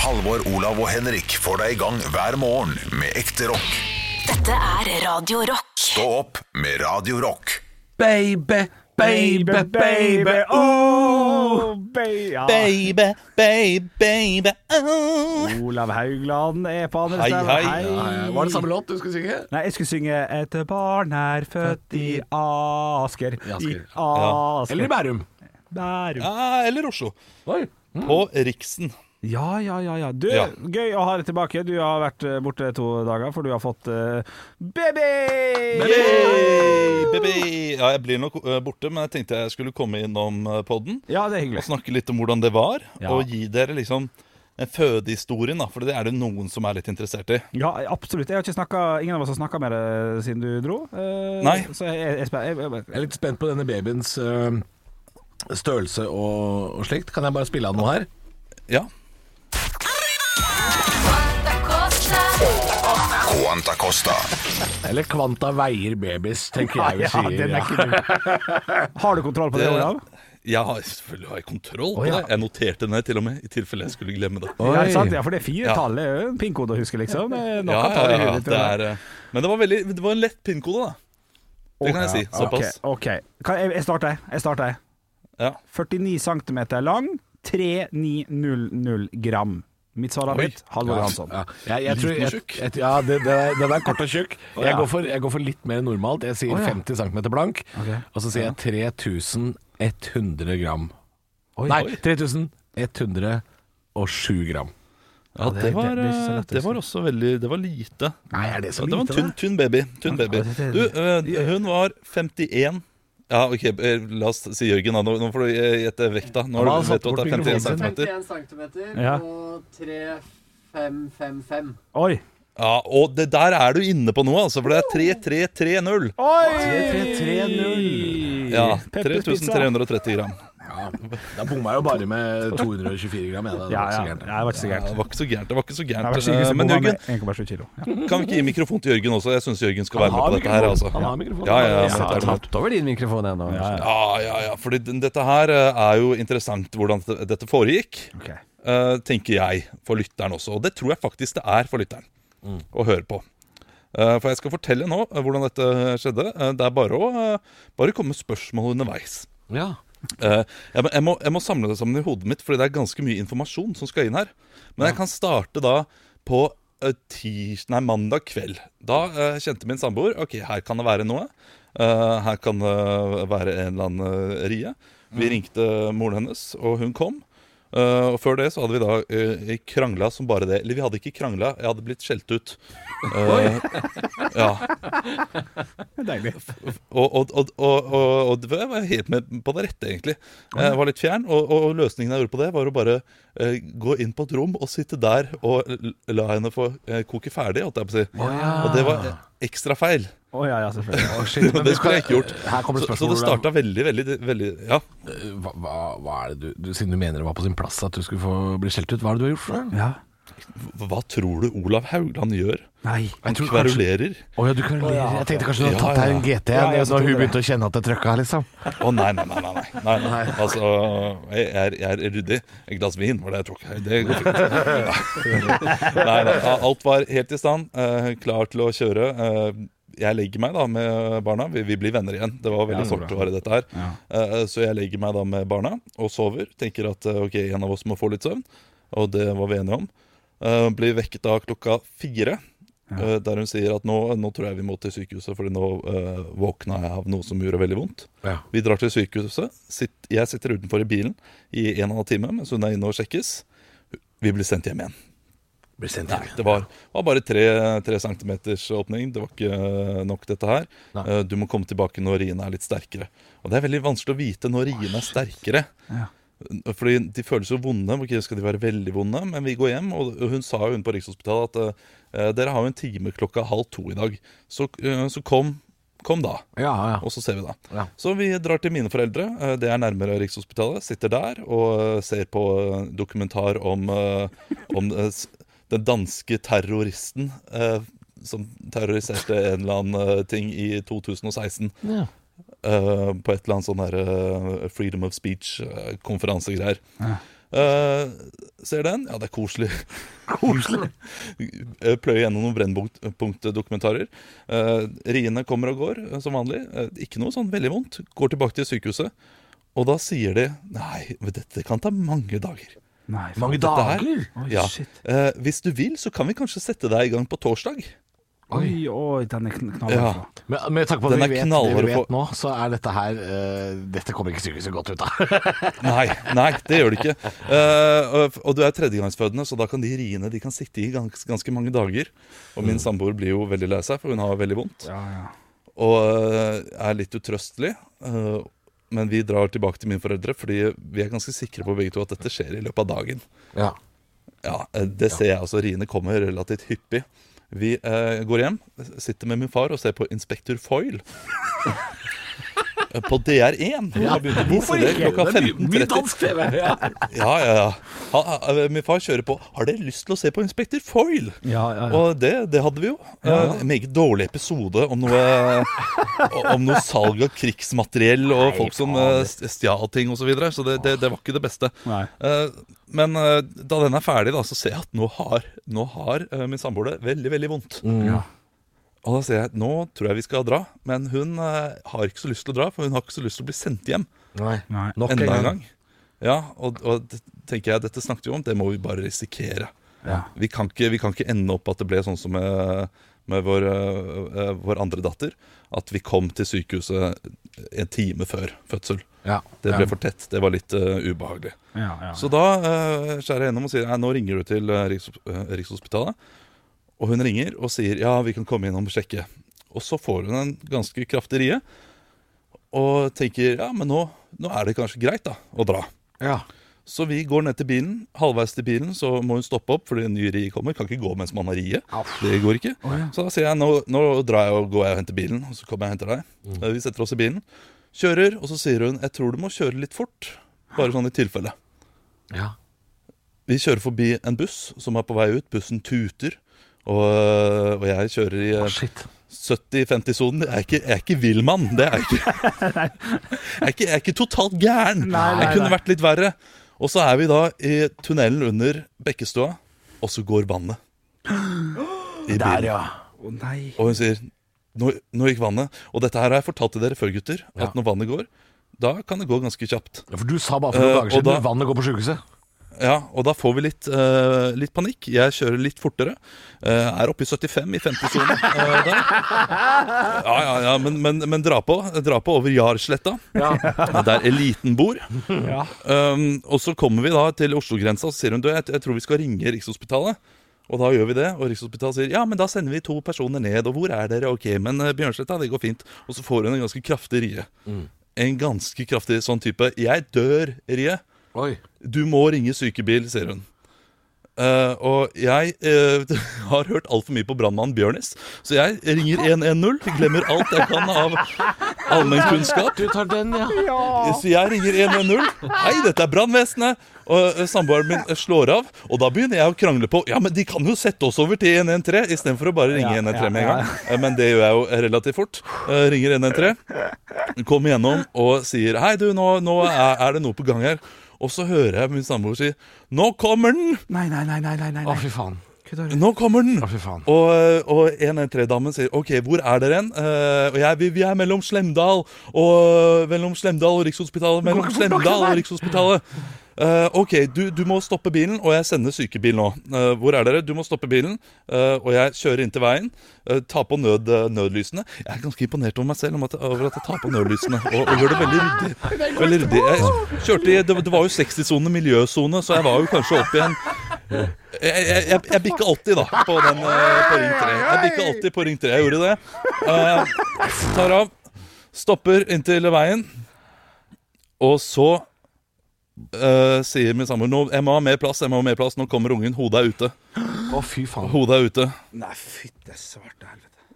Halvor, Olav og Henrik får deg i gang hver morgen med ekte rock. Dette er Radio Rock. Stå opp med Radio Rock. Baby, baby, baby, oh baby. Ja. Baby, baby, baby oh. Olav Haugland er på andre Hei, steder. hei. Var det samme låt du skulle synge? Nei, jeg skulle synge Et barn er født i Asker. I Asker. I Asker. Eller i Bærum? Bærum. Ja, eller Oslo. Oi. Mm. På Riksen. Ja, ja, ja. ja. Du, Ja. gøy å ha deg tilbake. Du har vært eh, borte to dager, for du har fått eh, baby! Yay, baby. Ja, jeg blir nok eh, borte, men jeg tenkte jeg skulle komme innom eh, podden Ja, det er hyggelig. og snakke litt om hvordan det var, Ja. og gi dere liksom eh, fødehistorien, da, for det er det noen som er litt interessert i. Ja, absolutt. Jeg har ikke snakket, ingen av oss har snakka med deg siden du dro. eh, Nei. Så jeg, jeg, spe- jeg, jeg, Jeg er litt spent på denne babyens øh, størrelse og, og slikt. Kan jeg bare spille av noe her? Ja. Quanta Costa. Eller kvanta veier babys, tenker jeg vi ja, sier. den ja. er ikke dum. Har du kontroll på det, Det- Olav? Jeg har Eh, selvfølgelig har jeg kontroll på Å, ja. det. Jeg noterte ned til og med, i tilfelle jeg skulle glemme det. Oi. Ja, ikke sant? ja, for det er fire Ja. tall. Det er jo en pinkode å huske, liksom. Det er Nok Ja, å ta i ja, ja, huet ditt, det Olav. er, eh, men det var, veldig, det var en lett pinnkode, da. Det kan jeg si. Såpass. Ok, ok. Kan jeg, jeg starter. jeg. Jeg starter. jeg. Ja. 49 cm lang, 3900 gram. Mitt svar er Oi. mitt. Halvor Johansson. Ja, jeg, jeg tror, Liten og jeg, tjukk. jeg, ja det, det er, den er kort og tjukk. Jeg ja. går, for, jeg går for litt mer enn normalt. Jeg sier Å, ja. 50 cm blank, Ok. og så sier jeg 3100 gram. Nei, 3107 gram. Ja, det, det- var, eh, det er ikke så lett å det var også veldig Det var lite. Nei, er det Ja, altså. så det var en lite? tynn, tynn baby. Tynn baby. det- det- Du, eh, hun var 51 Ja, OK, eh, la oss si Jørgen, da. Nå, nå får du eh, gjette vekta. Han Nå har har du satt vet du at det bort er 51 mikrofonen cm. 51 cm Ja. og 3555. Oi! Ja, og det der er du inne på noe, altså, for det er 3330. Oi! Ja, Peppers pizza. 3330 gram. Ja, da bomma jeg jo bare med 224 gram. Jeg, da. Det Ja, var ja. ikke så ja, gærent. det var ikke så Ja, gærent. det var ikke så gærent. Det var ikke så Det gærent. var ikke Eh, så Men Jørgen, gærent. 1,7 kilo. Ja. kan vi ikke gi mikrofon til Jørgen også? Jeg syns Jørgen skal være med har på dette her. mikrofon. Altså. Han har mikrofon. Ja, ja, ja, Jeg men har det er klart. tatt over din mikrofon ennå. Ja, ja, ja. Fordi den- dette her eh, er jo interessant hvordan dette- dette foregikk, Ok. eh, tenker jeg, for lytteren også. Og det tror jeg faktisk det er for lytteren å høre på. Eh, For jeg skal fortelle nå eh, hvordan dette skjedde. Eh, Det er bare å eh, bare komme med spørsmål underveis. Ja. Eh, Jeg må, jeg, må, jeg må samle det sammen i hodet mitt, Fordi det er ganske mye informasjon som skal inn her. Men jeg kan starte da på eh, tirs, nei, mandag kveld. Da eh, kjente min samboer Ok, her kan det være noe. Eh, her kan det være en eller annen eh, rie. Vi ringte moren hennes, og hun kom. Eh, og Før det så hadde vi da eh, krangla som bare det. Eller vi hadde ikke krangla, jeg hadde blitt skjelt ut. Eh, ja Deilig. og, og, og, og, og, og det var- jeg var helt med på det rette, egentlig. Jeg var litt fjern, og, og løsningen jeg gjorde på det, var å bare eh, gå inn på et rom og sitte der og l- la henne få eh, koke ferdig, holdt jeg på å si. Og det var eh, ekstra feil. Å ja, ja, selvfølgelig. det skulle jeg ikke gjort. Her kommer Så, det så spørsmål. det Olav. starta veldig, veldig, veldig Ja. hva, hva, hva er det du, du Siden du mener det var på sin plass at du skulle få bli skjelt ut, hva er det du har gjort for noe? Ja. Hva tror du Olav Haugland gjør? Nei. Han tror kverulerer. Å ja, du kan le. Jeg tenkte kanskje du hadde Ja, tatt deg en ja. GT Ja, jeg når trodde hun det. begynte å kjenne at det trøkka, liksom. Å nei, nei, nei. nei, nei, nei, nei. Altså, jeg er, jeg er ryddig. Et glass vin var det jeg tok. Det går fint. Nei, nei, alt var helt i stand. eh, klar til å kjøre. Eh, jeg legger meg da med barna. Vi, vi blir venner igjen. Det var veldig sårt å være i dette her. Eh, så jeg legger meg da med barna og sover. Tenker at eh, ok, en av oss må få litt søvn. Og det var vi enige om. Eh, blir vekket da klokka fire. eh, der hun sier at nå, nå tror jeg vi må til sykehuset, Fordi nå eh, våkna jeg av noe som gjorde veldig vondt. Ja. Vi drar til sykehuset. Sitt, jeg sitter utenfor i bilen i en og en halv time mens hun er inne og sjekkes. Vi blir sendt hjem igjen. Blir sendt Nei, det var, var bare tre, tre centimeters åpning. Det var ikke eh, nok, dette her. Nei. Eh, Du må komme tilbake når riene er litt sterkere. Og det er veldig vanskelig å vite når riene er sterkere. Fordi de føles jo vonde. Ok, skal de være veldig vonde? Men vi går hjem, og hun sa jo hun på Rikshospitalet at eh, dere har jo en time klokka halv to i dag. Så, eh, så kom, kom da. Ja, ja. Og så ser vi da. Ja. Så vi drar til mine foreldre. eh, Det er nærmere Rikshospitalet. Sitter der og eh, ser på eh, dokumentar om, eh, om eh, s- den danske terroristen eh, som terroriserte en eller annen eh, ting i 2016. Ja. Eh, På et eller annet sånn her eh, freedom of speech-konferansegreier. Eh, ser den? Ja, det er koselig. Koselig eh, Pløye gjennom noen Brennpunkt-dokumentarer. Eh, riene kommer og går, eh, som vanlig. Eh, ikke noe sånn veldig vondt. Går tilbake til sykehuset, og da sier de Nei, men dette kan ta mange dager. Nei, faen. Mange Dette her- dager? Oi, Ja. shit. Eh, hvis du vil, så kan vi kanskje sette deg i gang på torsdag. Oi, oi, den er kn- knallhard. Ja. på. Med, med tanke på at Den vi er vet det knallhard vi på- vet nå, så er dette her eh, Dette kommer ikke sykehuset godt ut av. Nei, nei, det gjør det ikke. Eh, og, og du er tredjegangsfødende, så da kan de riene de kan sitte i gans, ganske mange dager. Og min samboer blir jo veldig lei seg, for hun har veldig vondt. Ja, ja. Og eh, er litt utrøstelig. eh, men vi drar tilbake til mine foreldre, fordi vi er ganske sikre på begge to at dette skjer i løpet av dagen. ja. Ja, eh, Det ser jeg også. Riene kommer relativt hyppig. Vi eh, går hjem, sitter med min far og ser på Inspektør Foil. Eh, på DR1. Ja, hvorfor Det er Klokka mye- mye 15.30. dansk TV! Ja. Ja, ja, ja. Han, eh, min far kjører på Har dere lyst til å se på Inspektør Foil? Ja, ja, ja. Og det, det hadde vi jo. Eh, En meget dårlig episode om noe, om noe salg av krigsmateriell og folk som eh, stjal ting osv. Så, videre. så det, det, det var ikke det beste. Nei. Eh, Men eh, da den er ferdig, da, så ser jeg at nå har, nå har eh, min samboer det veldig, veldig vondt. Ja. Og da sier jeg nå tror jeg vi skal dra, men hun eh, har ikke så lyst til å dra, for hun har ikke så lyst til å bli sendt hjem. Nei. Nei. Nok Enda en gang. Ja, og, og det tenker jeg, dette snakket vi om, det må vi bare risikere. Ja. Vi kan ikke, vi kan ikke ende opp at det ble sånn som med, med vår, øh, øh, vår andre datter, at vi kom til sykehuset en time før fødsel. Ja. Det ble for tett, det var litt øh, ubehagelig. Ja, ja. Så da øh, skjærer jeg gjennom og sier «Nei, nå ringer du til øh, Riks, øh, Rikshospitalet. Og hun ringer og sier ja, vi kan komme innom og sjekke. Og så får hun en ganske kraftig rie og tenker ja, men nå, nå er det kanskje greit da, å dra. Ja. Så vi går ned til bilen. Halvveis til bilen så må hun stoppe opp fordi en ny ri kommer. Kan ikke gå mens man har riet. Det går ikke. Så da sier jeg nå, nå drar jeg og går jeg og henter bilen, og så kommer jeg og henter deg. Eh, Vi setter oss i bilen, kjører, og så sier hun jeg tror du må kjøre litt fort. Bare sånn i tilfelle. Ja. Vi kjører forbi en buss som er på vei ut. Bussen tuter. Og, og jeg kjører i eh, Shit. 70-50-sonen. Jeg, er ikke- jeg er ikke vill mann. Det er jeg ikke. Jeg er ikke, jeg er ikke totalt gæren. Nei, nei, jeg kunne nei. vært litt verre. Og så er vi da i tunnelen under Bekkestua, og så går vannet. I bilen. ja. Å nei. Og hun sier nå, nå gikk vannet. Og dette her har jeg fortalt til dere før, gutter. At når vannet går, da kan det gå ganske kjapt. For du sa bare for noen Eh, dager og siden da- at vannet går på sjukehuset. Ja, Og da får vi litt, eh, litt panikk. Jeg kjører litt fortere. Eh, er oppe i 75 i 50-sonen eh, der. Ja, ja, ja, men, men, men dra på. Dra på over Jarsletta, der eliten bor. Um, og så kommer vi da til Oslo-grensa, og så sier hun du, jeg, jeg tror vi skal ringe Rikshospitalet. Og da gjør vi det, og Rikshospitalet sier ja, men da sender vi to personer ned. Og hvor er dere? Ok, men eh, Bjørnsletta, det går fint. Og så får hun en ganske kraftig rie. En ganske kraftig sånn type 'jeg dør'-rie. Oi. Du må ringe sykebil, sier hun. Eh, og jeg eh, har hørt altfor mye på brannmannen Bjørnis, så jeg ringer 110. Glemmer alt jeg kan av allmennkunnskap. Du tar den, ja. Så jeg ringer 110. Hei, dette er brannvesenet. Og eh, samboeren min eh, slår av, og da begynner jeg å krangle på Ja, men de kan jo sette oss over til 113 istedenfor å bare ringe Ja, 113 med en ja, gang. Eh, Men det gjør jeg jo relativt fort. Eh, Ringer 113, kommer gjennom og sier Hei, du, nå, nå er er det noe på gang her. Og så hører jeg min samboer si Nå kommer den! Nei, nei, nei, nei, nei, nei. Å, fy faen. Nå kommer den! Å, fy faen. Og, og 113-damen sier OK, hvor er dere hen? Eh, og jeg, vi, vi er mellom Slemdal og mellom Slemdal og Rikshospitalet. Mellom Slemdal og Rikshospitalet. Eh, OK, du, du må stoppe bilen, og jeg sender sykebil nå. Eh, hvor er dere? Du må stoppe bilen, eh, og jeg kjører inn til veien. eh, ta på nød, nødlysene. Jeg er ganske imponert over meg selv om at, over at jeg tar på nødlysene. Og, og gjør det veldig ryddig. Veldig ryddig. Jeg kjørte i, det, det var jo 60-sone, miljøsone, så jeg var jo kanskje opp i en jeg, jeg, jeg, jeg bikka alltid da på, den, eh, på Ring 3. Jeg bikka alltid på Ring 3. Jeg gjorde det. Eh, tar av, stopper inntil veien, og så eh, sier min samboer «Nå- Jeg må ha mer plass, jeg må ha mer plass. Nå kommer ungen. Hodet er ute. Å, fy faen. Hodet er ute. Nei, fytte svarte helvete.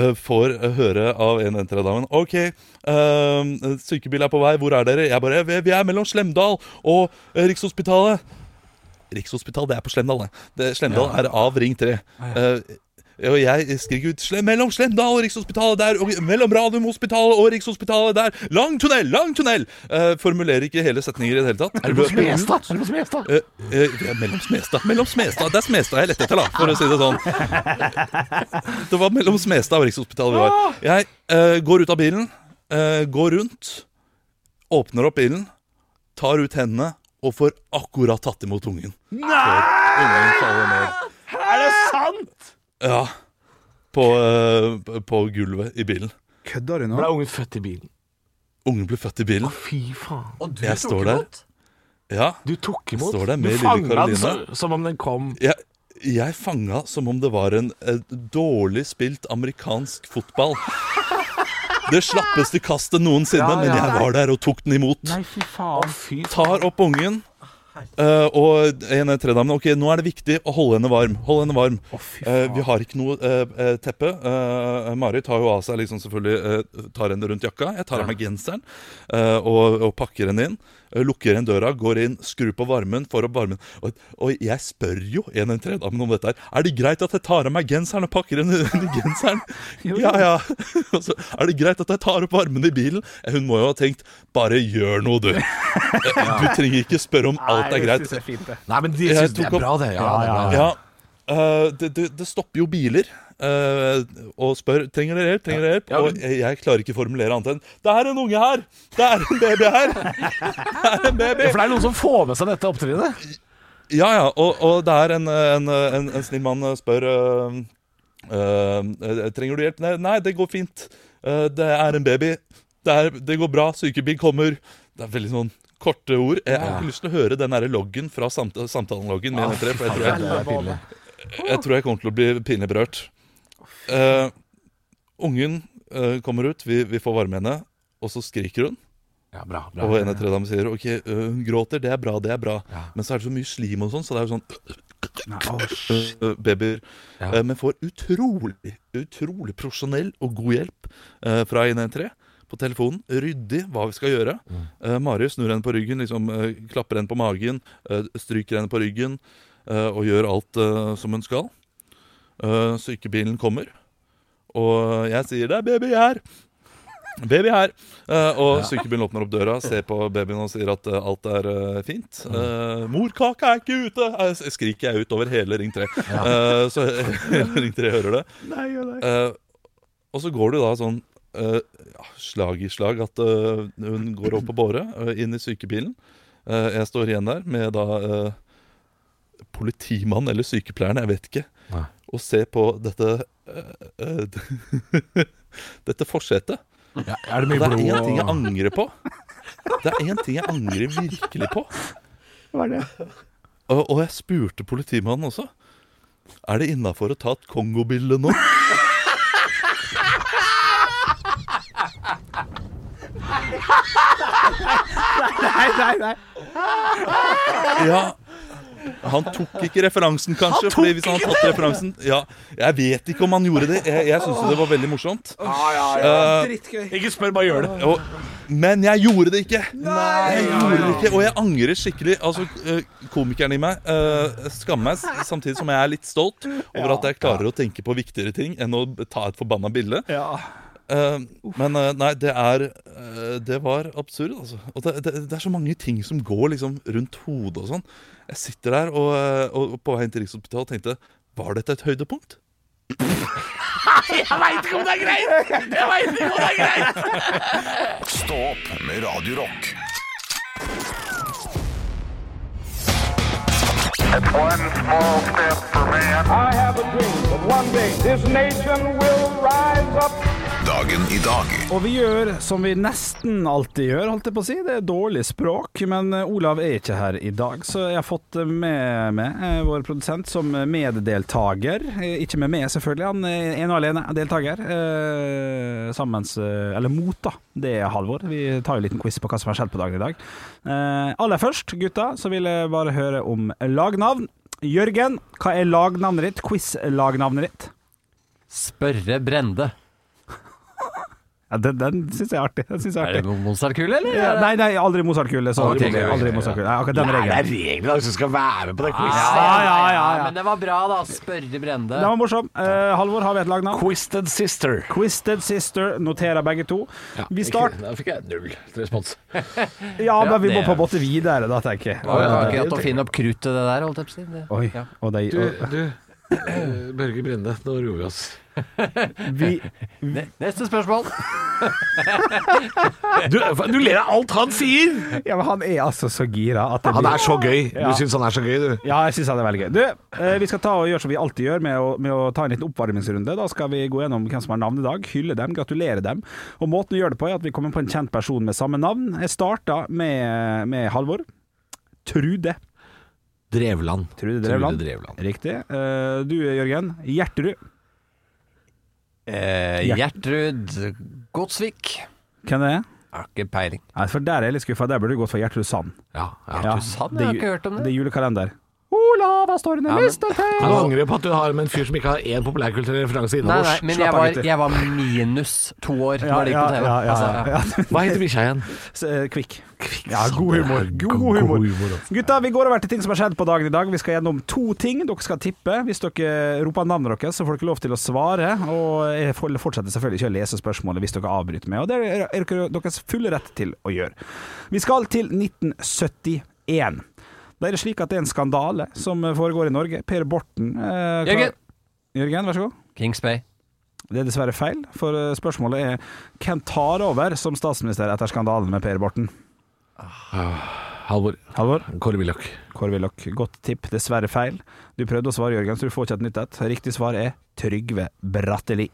Eh, får høre av en etter damen OK, eh, sykebil er på vei, hvor er dere? Jeg bare Vi, vi er mellom Slemdal og eh, Rikshospitalet. Rikshospitalet, det er på Slemdal, det. det Slemdal er av Ring 3. Eh, Og jeg skriker ut «Slem- mellom Slemdal og Rikshospitalet der, og mellom Radiumhospitalet og Rikshospitalet der. Lang tunnel! Lang tunnel! Eh, formulerer ikke hele setninger i det hele tatt. Er det Smestad? Er det på Smestad? Eh, eh, det er mellom Smestad Mellom Smestad, Det er Smestad jeg lette etter, da, for å si det sånn. Det var mellom Smestad og Rikshospitalet vi var. Jeg eh, går ut av bilen, eh, går rundt, åpner opp bilen, tar ut hendene og får akkurat tatt imot ungen. Før ungen faller ned. Er det sant?! Ja. På, eh, på gulvet i bilen. Kødder du nå? Ble ungen født i bilen? Ungen ble født i bilen. Fy faen. Og du Jeg tok står der. imot? Ja. Du tok imot. Står der med du lille fanget den Karoline. så- som om den kom Jeg, jeg fanga som om det var en eh, dårlig spilt amerikansk fotball. Det slappeste kastet noensinne, Ja, men ja. jeg var der og tok den imot. Nei, fy faen. Fy Tar opp ungen. eh, og en av tredamene Ok, nå er det viktig å holde henne varm. Hold henne varm Eh, Vi har ikke noe eh, eh, teppe. Eh, Mari tar jo av seg liksom selvfølgelig eh, Tar henne rundt jakka. Jeg tar av meg genseren eh, og, og pakker henne inn. eh, lukker igjen døra, går inn, skrur på varmen, får opp varmen. Og, og jeg spør jo en av tredamen om dette her. Er det greit at jeg tar av meg genseren og pakker henne inn i genseren? ja, ja. Og så, er det greit at jeg tar opp varmen i bilen? Eh, Hun må jo ha tenkt Bare gjør noe, du. Eh, Du trenger ikke spørre om alt er greit. Det er fint, det. Nei, men de Jeg syns det er tok opp- bra, det. Ja, det er bra. Ja, eh, det, det, det stopper jo biler eh, og spør trenger dere hjelp. trenger dere hjelp Ja, men- Og jeg, jeg klarer ikke å formulere annet enn Det er en unge her! Det er en baby her! Det er en baby! For det er noen som får med seg dette opptrinnet. Ja, ja, og, og det er en, en, en, en snill mann eh, spør eh, eh, Trenger du hjelp? Nei, nei, det går fint. Eh, det er en baby. Det, er, det går bra. Sykebil kommer. Det er veldig sånn korte ord. Jeg har ikke lyst til å høre den der loggen fra samt samtaleloggen. med N3, for jeg tror jeg, Ah, Det er pinlig. Jeg tror jeg kommer til å bli pinlig berørt. Eh, ungen eh, kommer ut, vi, vi får varme henne, og så skriker hun. Ja, bra, Og bra. en av tre damer sier OK, eh, hun gråter, det er bra, det er bra. Men så er det så mye slim og sånn, så det er jo sånn Nei, å, shit. øh, babyer. Ja. Eh, men får utrolig, utrolig profesjonell og god hjelp eh, fra 113 på telefonen. Ryddig hva vi skal gjøre. Eh, Mari snur henne på ryggen, liksom, eh, klapper henne på magen, eh, stryker henne på ryggen eh, og gjør alt eh, som hun skal. Eh, sykebilen kommer, og jeg sier 'det er baby her'. Baby her! Eh, og sykebilen åpner opp døra, ser på babyen og sier at eh, alt er eh, fint. Uh, 'Mor, kaka er ikke ute!' eh, s- skriker jeg ut over hele Ring 3. Eh, så hele Ring 3 hører det. Nei, å, nei. Eh, og så går det da sånn eh, ja, slag i slag at eh, hun går opp på båre, eh, inn i sykebilen. Eh, jeg står igjen der med da eh, politimannen eller sykepleieren, jeg vet ikke, Nei. og ser på dette eh, eh, Dette forsetet. Ja, er det Og mye det er blod én ting jeg og angrer på. Det er én ting jeg angrer virkelig på. Hva er det? Og, og jeg spurte politimannen også. Er det innafor å ta et Kongo-bilde nå? Nei, nei, nei. Ja han tok ikke referansen, kanskje. fordi hvis han hadde tatt referansen ja, Jeg vet ikke om han gjorde det. Jeg, jeg syntes jo det var veldig morsomt. Eh, Drittgøy. Ikke spør, bare gjør det. og, men jeg gjorde det ikke! Jeg gjorde det ikke, Og jeg angrer skikkelig. Altså, eh, Komikeren i meg eh, skammer meg, s- samtidig som jeg er litt stolt over at jeg klarer å tenke på viktigere ting enn å ta et forbanna bilde. Ja. Eh, men eh, nei, det er eh, Det var absurd, altså. Og det, det, det er så mange ting som går liksom rundt hodet og sånn. Jeg sitter der og, eh, og og på vei inn til Rikshospitalet tenkte Var dette et høydepunkt? Stå opp med Radio Rock. One small step for man. I have a dream that one day this nation will rise up. Dagen i dag. Og vi gjør som vi nesten alltid gjør, holdt jeg på å si. Det er dårlig språk, men eh, Olav er ikke her i dag, så jeg har fått eh, med meg eh, vår produsent som eh, meddeltaker. Eh, Ikke med meg, selvfølgelig, han er ene og alene deltaker. Eh, Sammens eh, Eller mot, da. Det er Halvor. Vi tar jo en liten quiz på hva som har skjedd på dagen i dag. Eh, Aller først, gutta, så vil jeg bare høre om lagnavn. Jørgen, hva er lagnavnet ditt? Quiz-lagnavnet ditt? Spørre Brende. Ja, den den syns jeg er artig. Den synes jeg er Er det artig. Mozart-kule, eller? Ja, nei, nei, aldri Mozart-kule. Så aldri, Ok, ok, Mozart- ok. aldri Mozart-kule. Nei, akkurat den Det er regelen. reglene da, som skal være med på den Ja, quizen. ja, ja, ja, ja. Men det var bra, da. Spørre Brende. Den var morsom. Eh, Halvor, har vi et lagnavn? Quisted Sister. Quisted Sister noterer begge to. Vi starter Da fikk jeg null respons. Ja, men vi må det- på en måte videre, da, tenker jeg. Det var jo akkurat å finne opp kruttet, det der, holdt jeg på å si. Det- Oi, Ja. og de, Du, og, du eh, Børge Brende, nå roer vi oss. vi, Ne- Neste spørsmål. Du, du ler av alt han sier! ja, men han er altså så gira at det Han er så gøy. Ja. Du syns han er så gøy, du. Ja, jeg syns det er veldig gøy. Du, eh, vi skal ta og gjøre som vi alltid gjør, med å, med å ta en liten oppvarmingsrunde. Da skal vi gå gjennom hvem som har navn i dag, hylle dem, gratulere dem. Og Måten vi gjør det på, er at vi kommer på en kjent person med samme navn. Jeg starta med, med Halvor. Trude. Drevland. Trude Trude Drevland. Riktig. Eh, Du, Jørgen. Gjertrud. Eh, Gjertrud Godsvik. Hvem det er? Har ikke peiling. Nei, for Der er jeg litt skuffa. Der burde du gått for Gjertrud Sand. Ja, ja. Ja, Sand? det Jeg har er ju- ikke hørt om det. Det er julekalender. Olav har stående men- lista til Kan du angre på at du har med en fyr som ikke har én populærkulturell referanse Nei, innabords? nei, men slapp jeg av, var, gutter. jeg var minus to år ja, da det gikk ja, på TV. ja, ja, Altså, ja. ja. Hva heter bikkja igjen? S- eh, Kvikk. Ja, god humor. God humor. altså. Gutta, vi går over til ting som har skjedd på dagen i dag. Vi skal gjennom to ting. Dere skal tippe. Hvis dere roper navnet deres, så får dere lov til å svare. Og jeg får- fortsetter selvfølgelig ikke å lese spørsmålet hvis dere avbryter meg. Og det er er dere deres fulle rett til å gjøre. Vi skal til 1971. Da er det slik at det er en skandale som foregår i Norge. Per Borten eh, klar- Jørgen. Jørgen, vær så god. Kings Bay. Det er dessverre feil, for eh, spørsmålet er hvem tar over som statsminister etter skandalen med Per Borten? Halvor. Halvor? Kåre Willoch. Kåre Willoch, godt tipp. Dessverre feil. Du prøvde å svare, Jørgen, så du får ikke et nytt et. Riktig svar er Trygve Bratteli.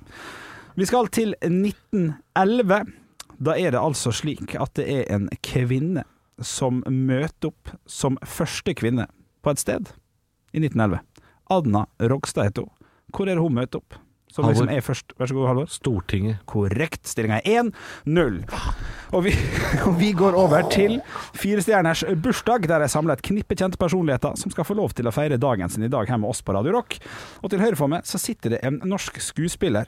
Vi skal til 1911. Da er det altså slik at det er en kvinne som møter opp som første kvinne på et sted i 1911. Anna Rogstad heter hun. Hvor er det hun møter opp? Som liksom Halvor. er først. Vær så god, Halvor. Stortinget. Korrekt. Stillinga er 1-0. Og vi, og vi går over til firestjerners bursdag, der jeg samler et knippe kjente personligheter som skal få lov til å feire dagen sin i dag her med oss på Radio Rock. Og til høyre for meg så sitter det en norsk skuespiller.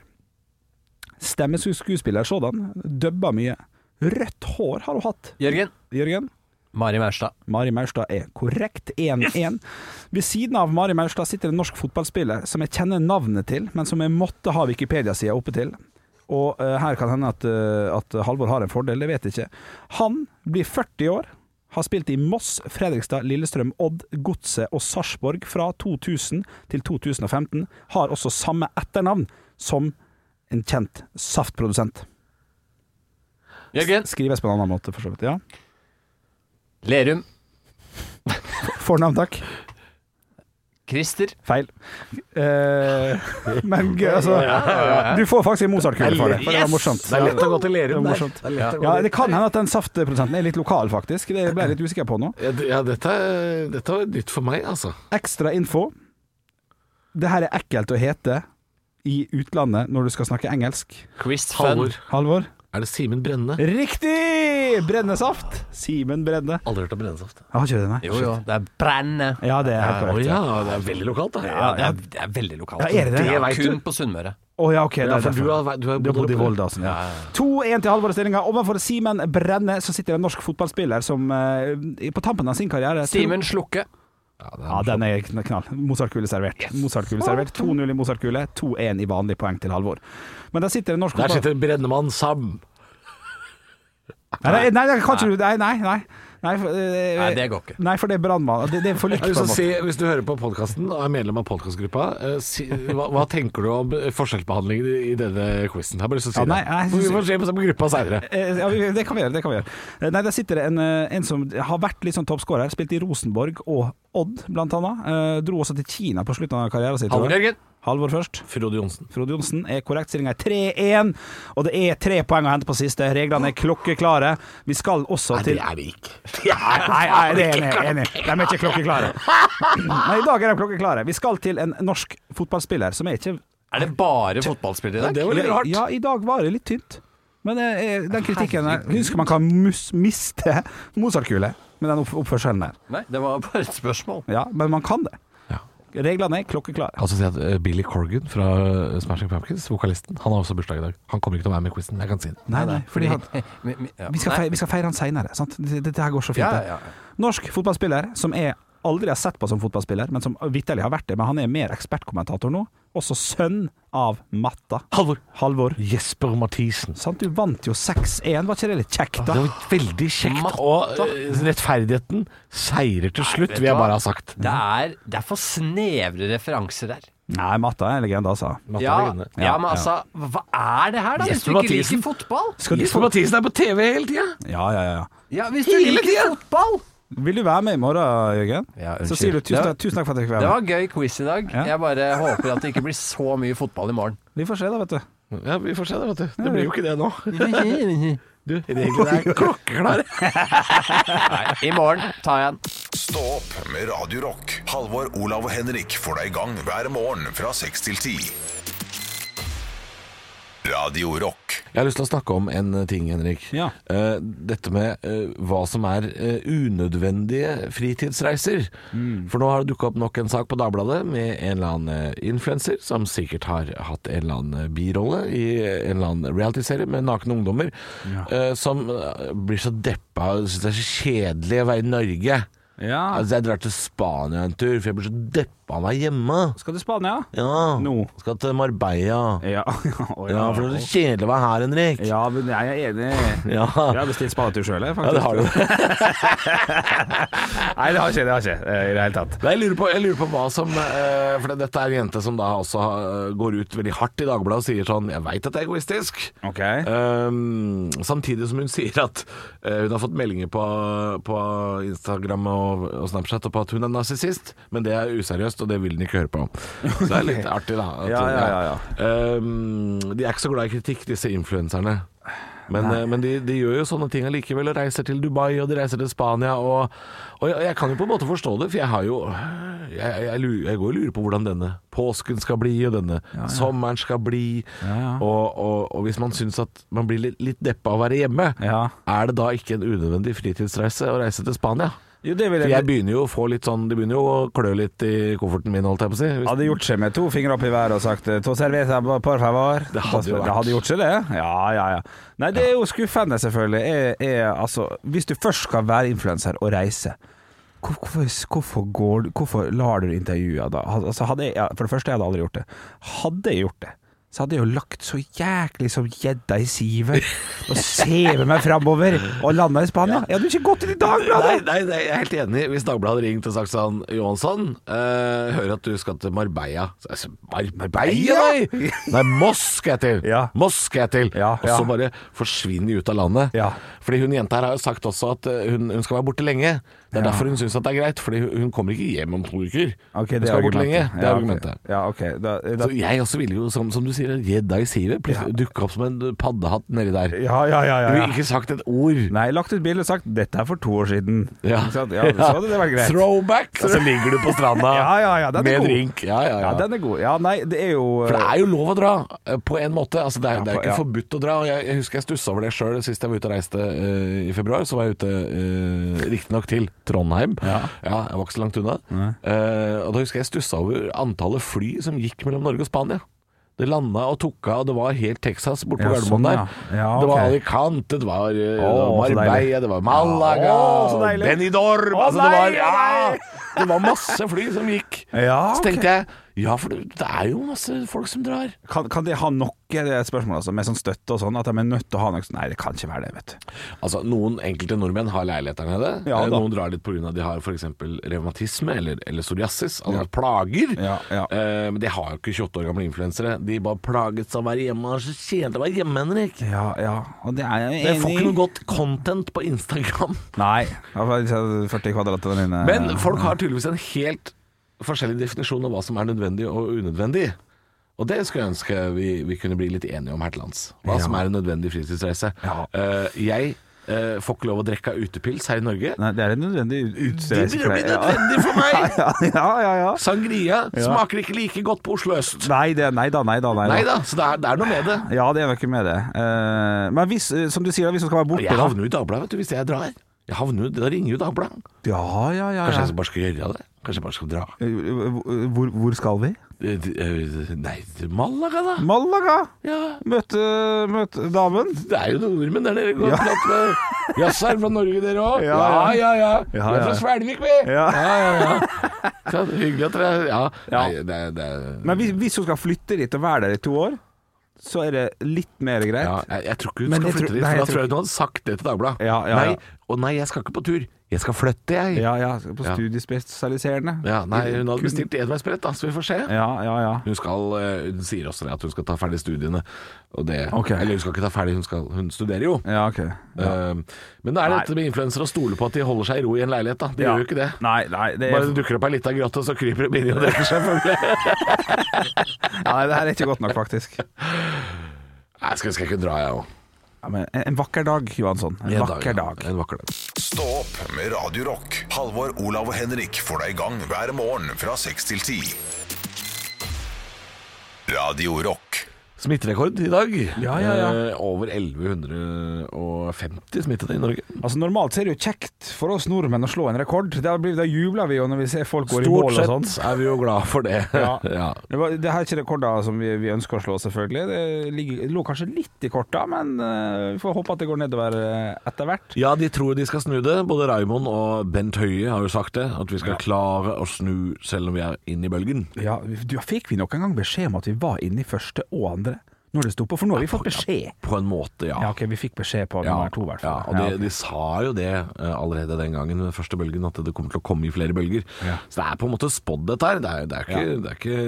Stemmeskuespiller sådan. Dubba mye. Rødt hår har hun hatt, Jørgen. Jørgen. Mari Maurstad. Mari Maurstad er korrekt 1-1. Ved siden av Mari Maurstad sitter en norsk fotballspiller som jeg kjenner navnet til, men som jeg måtte ha Wikipedia-sida oppe til. Og eh, her kan hende at, eh, at Halvor har en fordel, det vet jeg ikke. Han blir 40 år, har spilt i Moss, Fredrikstad, Lillestrøm, Odd, Godset og Sarpsborg fra 2000 til 2015. Har også samme etternavn som en kjent saftprodusent. Jørgen. Skrives på en annen måte, for så vidt. Ja. Lerum. Fornavn, takk. Christer. Feil. Eh, men gøy, altså Du får faktisk en Mozart-kule for det, for det var morsomt. Det er lett å gå til Det var Lerum. der. morsomt. Det er lett å Ja, gå til- det kan hende at den saftprodusenten er litt lokal, faktisk. Det ble jeg litt usikker på nå. Ja, det- ja, dette, er- dette var nytt for meg, altså. Ekstra info. Det her er ekkelt å hete i utlandet når du skal snakke engelsk. Quiz Fun. Halvor. Halvor? Er det Simen Brenne? Riktig! Brennesaft. Simen Brenne. Aldri hørt om Brennesaft. Jeg har ikke det, nei. Jo, jo. Det er brennende. Ja, det er helt Å korrekt. ja. ja, det er veldig lokalt, da. Ja, det er, det er veldig lokalt. Ja, er det det? Det vet Kun du. på Sunnmøre. Å ja, ok. det Ja, er for derfor. du har, du har Du har bodd i oppe der. Volda og sånn, ja. 2-1 til Halvor-stillinga. Ovenfor Simen Brenne så sitter det en norsk fotballspiller som eh, på tampen av sin karriere Simen Slukke. Ja, den er kn- knall. Mozart-kule servert. Mozart-kule servert. 2-0 i Mozart-kule, 2-1 i vanlig poeng til Halvor. Men der sitter det en norsk Der fotball- sitter Brennemann Sam. Nei, nei, nei, det kan ikke du Nei, nei. nei. Nei, for, eh, Nei, det går ikke. Nei, for det er brannmann. Det, det er for lykt, Jeg på har lyst til å en måte. si, hvis du hører på podkasten og er medlem av podkastgruppa, eh, si, hva, hva tenker du om eh, forskjellsbehandlingen i- i denne quizen? Jeg har bare lyst til å si Ja, det. nei, jeg vi synes- får se på samme gruppa seinere. Eh, Ja, vi- det kan vi gjøre. det kan vi gjøre Eh, Nei, Der sitter det en, eh, en som har vært litt sånn toppskårer. Spilt i Rosenborg og Odd, blant annet. Eh, Dro også til Kina på slutten av karrieren sin. tror Halvor jeg. Jørgen. Halvor først. Frode Johnsen. Frode Johnsen er korrekt. Stillinga er 3-1, og det er tre poeng å hente på siste. Reglene er klokkeklare. Vi skal også til er vi ikke. Nei, nei, nei, det er enig, enig. De er ikke klokkeklare. Nei, I dag er de klokkeklare. Vi skal til en norsk fotballspiller som er ikke Er det bare fotballspillere i dag? Det var litt rart. Ja, i dag var det litt tynt. Men eh, eh, den kritikken her Husker man kan mus miste Mozart-kule med den opp oppførselen der. Nei, det var bare et spørsmål. Ja, men man kan det. Reglene er klokkeklare. Altså si at eh, Billy Corgan fra eh, Smashing Pumpkins, vokalisten, han har også bursdag i dag. Han kommer ikke til å være med i quizen, jeg kan si det. Nei, nei, fordi han, Men- men- ja. vi, skal feire, vi skal feire han seinere. Dette her går så fint. Ja, det. ja, ja. Norsk fotballspiller som jeg aldri har sett på som fotballspiller, men som vitterlig har vært det. Men han er mer ekspertkommentator nå. Også sønn av Matta. Halvor. Halvor. Jesper Mathisen. Sant, du vant jo 6-1. Var ikke det litt kjekt, Det da? var veldig kjekt, og eh, rettferdigheten seirer til slutt, vet vil du jeg hva? bare ha sagt. Det er, det er for snevre referanser der. Nei, Matta er en legende, altså. Ja, ja, men altså, hva er det her, da? Hvis du Jesper ikke liker Mathisen. fotball? Skal du Jesper få Mathisen er på TV hele tida! Ja, ja, ja. Ja, hvis du liker fotball! Vil du være med i morgen, Jørgen? Ja, så unnskyld. sier du tusen, Det var- tusen takk for at jeg fikk Det være med. var en gøy quiz i dag. Ja. Jeg bare håper at det ikke blir så mye fotball i morgen. Vi får se, da, vet du. Ja, vi får se det, vet du. Det blir jo ikke det nå. Du, reglene er klokkeklare. I morgen tar jeg en. Stå opp med Radio Rock. Halvor, Olav og Henrik får deg i gang hver morgen fra 6 til 10. Radio Rock. Jeg har lyst til å snakke om en ting, Henrik. Ja. Eh, dette med eh, hva som er eh, unødvendige fritidsreiser. Mm. For nå har det dukka opp nok en sak på Dagbladet med en eller annen eh, influenser som sikkert har hatt en eller annen eh, birolle i eh, en eller annen realityserie med nakne ungdommer, eh, som eh, blir så deppa og syns det er så kjedelig å være i Norge. Ja. Altså, jeg drar til Spania en tur, for jeg blir så deppa av meg hjemme. Skal du Spania? Ja. Nå. Skal til Marbella. Ja. Å, Ja, for det er så kjedelig å være her, Henrik. ja, men jeg er enig. Ja. Jeg har bestilt spadetur sjøl, jeg, Ja, faktisk. det har du. Nei, det har ikke det har ikke, eh, i det hele tatt. Nei, jeg, lurer på, jeg lurer på hva som eh, For dette er en jente som da også eh, går ut veldig hardt i Dagbladet og sier sånn Jeg veit at det er egoistisk. Ok. Ehm, samtidig som hun sier at eh, hun har fått meldinger på, på Instagram og, og Snapchat og på at hun er narsissist, men det er useriøst, og det vil hun ikke høre på. Så det er litt artig, da. at- Ja, ja, ja, ja. Ehm, de er ikke så glad i kritikk, disse influenserne. Men, eh, men de, de gjør jo sånne ting allikevel, og reiser til Dubai og de reiser til Spania. Og, og jeg, jeg kan jo på en måte forstå det, for jeg har jo Jeg, jeg, lu- jeg går og lurer på hvordan denne påsken skal bli, og denne sommeren skal bli. Og, og, og hvis man syns at man blir litt, litt deppa av å være hjemme, Ja. er det da ikke en unødvendig fritidsreise å reise til Spania? Jo, det vil For jeg jeg begynner jo å få litt sånn Det begynner jo å klø litt i kofferten min, holdt jeg på å si. Hvis- hadde gjort seg med to fingre opp i været og sagt eh, to cerveza, por favor. Det hadde jo vært. det hadde gjort seg, det. Ja, ja, ja. Nei, det er jo skuffende, selvfølgelig. Er, er, altså, hvis du først skal være influenser og reise, hvor- hvorfor, hvorfor, går, du- hvorfor lar du intervjue da? Altså, hadde jeg, ja, for det første, jeg hadde aldri gjort det. Hadde jeg gjort det, så hadde jeg jo lagt så jæklig som gjedda i sivet og sevet meg framover og landa i Spania. Jeg hadde jo ikke gått til i Nei, Dagbladet! nei, nei, jeg er helt enig. Hvis Dagbladet hadde ringt og sagt sånn Johansson, eh, hører at du skal til Marbella. Så jeg sa, Mar Marbella, nei! Nei, Moss skal jeg til! Ja. Moss skal jeg til! Ja, og ja. så bare forsvinner de ut av landet. Ja. Fordi hun jenta her har jo sagt også at eh, hun, hun skal være borte lenge. Det er derfor hun syns at det er greit, fordi hun- hun kommer ikke hjem om to uker. Ok, hun skal være borte lenge. Det er Ja, ok. argumentet. Ja, ok. Da, da, Så jeg også ville jo, som, som du sier, gjedda i sivet. Plutselig dukke opp som en paddehatt nedi der. ja, ja, ja, Du ja, ville ja. ikke sagt et ord. Nei, lagt ut bilde og sagt 'dette er for to år siden'. Ikke sant? ja Så hadde det vært greit. Throwback! Og så ligger du på stranda Ja, ja, ja, den er med god. drink. Ja, ja, ja. Ja, den er god. Ja, nei, det er jo For det er jo lov å dra, eh, på en måte. Altså, det, er, det er på- ikke ja. forbudt å dra. Og jeg, jeg husker jeg stussa over det sjøl sist jeg var ute og reiste eh, i februar. Så var jeg ute uh, riktignok til Trondheim, ja. jeg var ikke så langt unna. Eh, og da husker jeg stussa over antallet fly som gikk mellom Norge og Spania. Det landa og tok av, og det var helt Texas borte på Ja, Gardermoen sånn, der. ja. Ja, Det var ok. Alicante, det var, eh, Å, så det var Marbella, deilig. det var Malaga, Å, så deilig. Benidorm altså, det, nei, var, å, ja, det var masse fly som gikk. Ja, Så ok. tenkte jeg ja, for det, det er jo masse folk som drar. kan, kan de ha noe det er et spørsmål, altså, med sånn støtte og sånn? At de er nødt til å ha noe sånn- Nei, det kan ikke være det, vet du. Altså, Noen enkelte nordmenn har leiligheter nede. Ja, Eh, da. noen drar dit pga. de har f.eks. revmatisme eller, eller psoriasis, altså plager. Ja, ja. Eh, men de har jo ikke 28 år gamle influensere. De bare plaget seg av å være hjemme. Det er så kjedelig å være hjemme, Henrik. Ja, ja. Og det er jeg Jeg får enig ikke i. noe godt content på Instagram. Nei. i hvert fall disse 40 kvadrat og den inne. Men folk har tydeligvis en helt forskjellig definisjon av hva som er nødvendig og unødvendig. Og det skulle jeg ønske vi, vi kunne bli litt enige om her til lands. Hva som er en nødvendig fritidsreise. Ja. Eh, jeg eh, får ikke lov å drikke av utepils her i Norge. Nei, det er en nødvendig Det blir utstrekning. nødvendig for meg! Ja, ja, ja. ja. Sangria smaker ikke like godt på Oslo øst. Nei, det, nei da, nei da. Nei da. Nei da, så det er, det er noe med det. Ja, det er noe med det. Eh, men hvis, eh, som du sier, hvis man skal være borte Og jeg havner jo i Dagbladet vet du, hvis jeg drar. Jeg havner jo, Da ringer jo Dagbladet. Ja, ja, ja. Kanskje ja. jeg bare skal gjøre det? Kanskje jeg bare skal dra. Hvor, hvor skal vi? Eh, d- eh, Nei, til Malaga, da. Malaga! Ja. Møte, møte damen. Det er jo noen nordmenn der nede. Går og prater med Jaså, er dere fra Norge, dere òg? Ja, Ja, ja. ja, ja. Vi Ja, er ja. fra Svelvik, vi. Ja. ja, ja. ja. Så hyggelig at dere Ja. Ja. Nei, det, er- det er- Men hvis, hvis hun skal flytte dit og være der i to år, så er det litt mer greit. ja, jeg, jeg tror ikke hun Men skal jeg flytte tror- dit, nei, for jeg da tror jeg hun hadde sagt det til Dagbladet. Ja, ja, nei, ja. Å nei, jeg skal ikke på tur. Jeg skal flytte, jeg. Ja, ja, på Ja. studiespesialiserende. Ja, nei, hun hadde Kun- bestilt enveisbrett, da, så vi får se. Ja, ja, ja. Hun, skal, eh, hun sier også det at hun skal ta ferdig studiene. Og det, Ok. Eller hun skal ikke ta ferdig, hun, skal, hun studerer jo. Ja, ok. Eh, men det er dette med influensere å stole på at de holder seg i ro i en leilighet. da De Ja. gjør jo ikke det. Nei, nei, det Bare er, det dukker opp ei lita grotte, så kryper de inn i og drikker seg fulle. nei, det her er ikke godt nok, faktisk. Nei, skal, skal ikke dra, jeg òg. Ja, men en, en vakker dag, Johansson. En, vakker dag. En vakker dag. Stå opp med Radio Rock. Halvor, Olav og Henrik får deg i gang hver morgen fra 6 til 10. Radio Rock. Smitterekord i dag. Ja, ja, ja. Eh, over 1150 smittede i Norge. Altså Normalt så er det jo kjekt for oss nordmenn å slå en rekord. Da, blir, da jubler vi jo når vi ser folk går i mål og sånt. er vi jo glad for det. Ja. ja. Det, var, det her er ikke rekorder som vi, vi ønsker å slå, selvfølgelig. Det ligger, lå kanskje litt i korta, men eh, vi får håpe at det går nedover eh, etter hvert. Ja, de tror de skal snu det. Både Raimond og Bent Høie har jo sagt det. At vi skal klare å snu selv om vi er inne i bølgen. Ja, vi- du, Fikk vi noen gang beskjed om at vi var inne i første og andre når det sto på? For nå har vi fått beskjed. På en måte, ja. Ja, ok, vi fikk beskjed på Ja, nummer to, i hvert fall. ja, og de, de sa jo det eh, allerede den gangen, den første bølgen, at det kommer til å komme i flere bølger. Så det er på en måte spådd, dette her. Det er, det, er ikke, det, er ikke,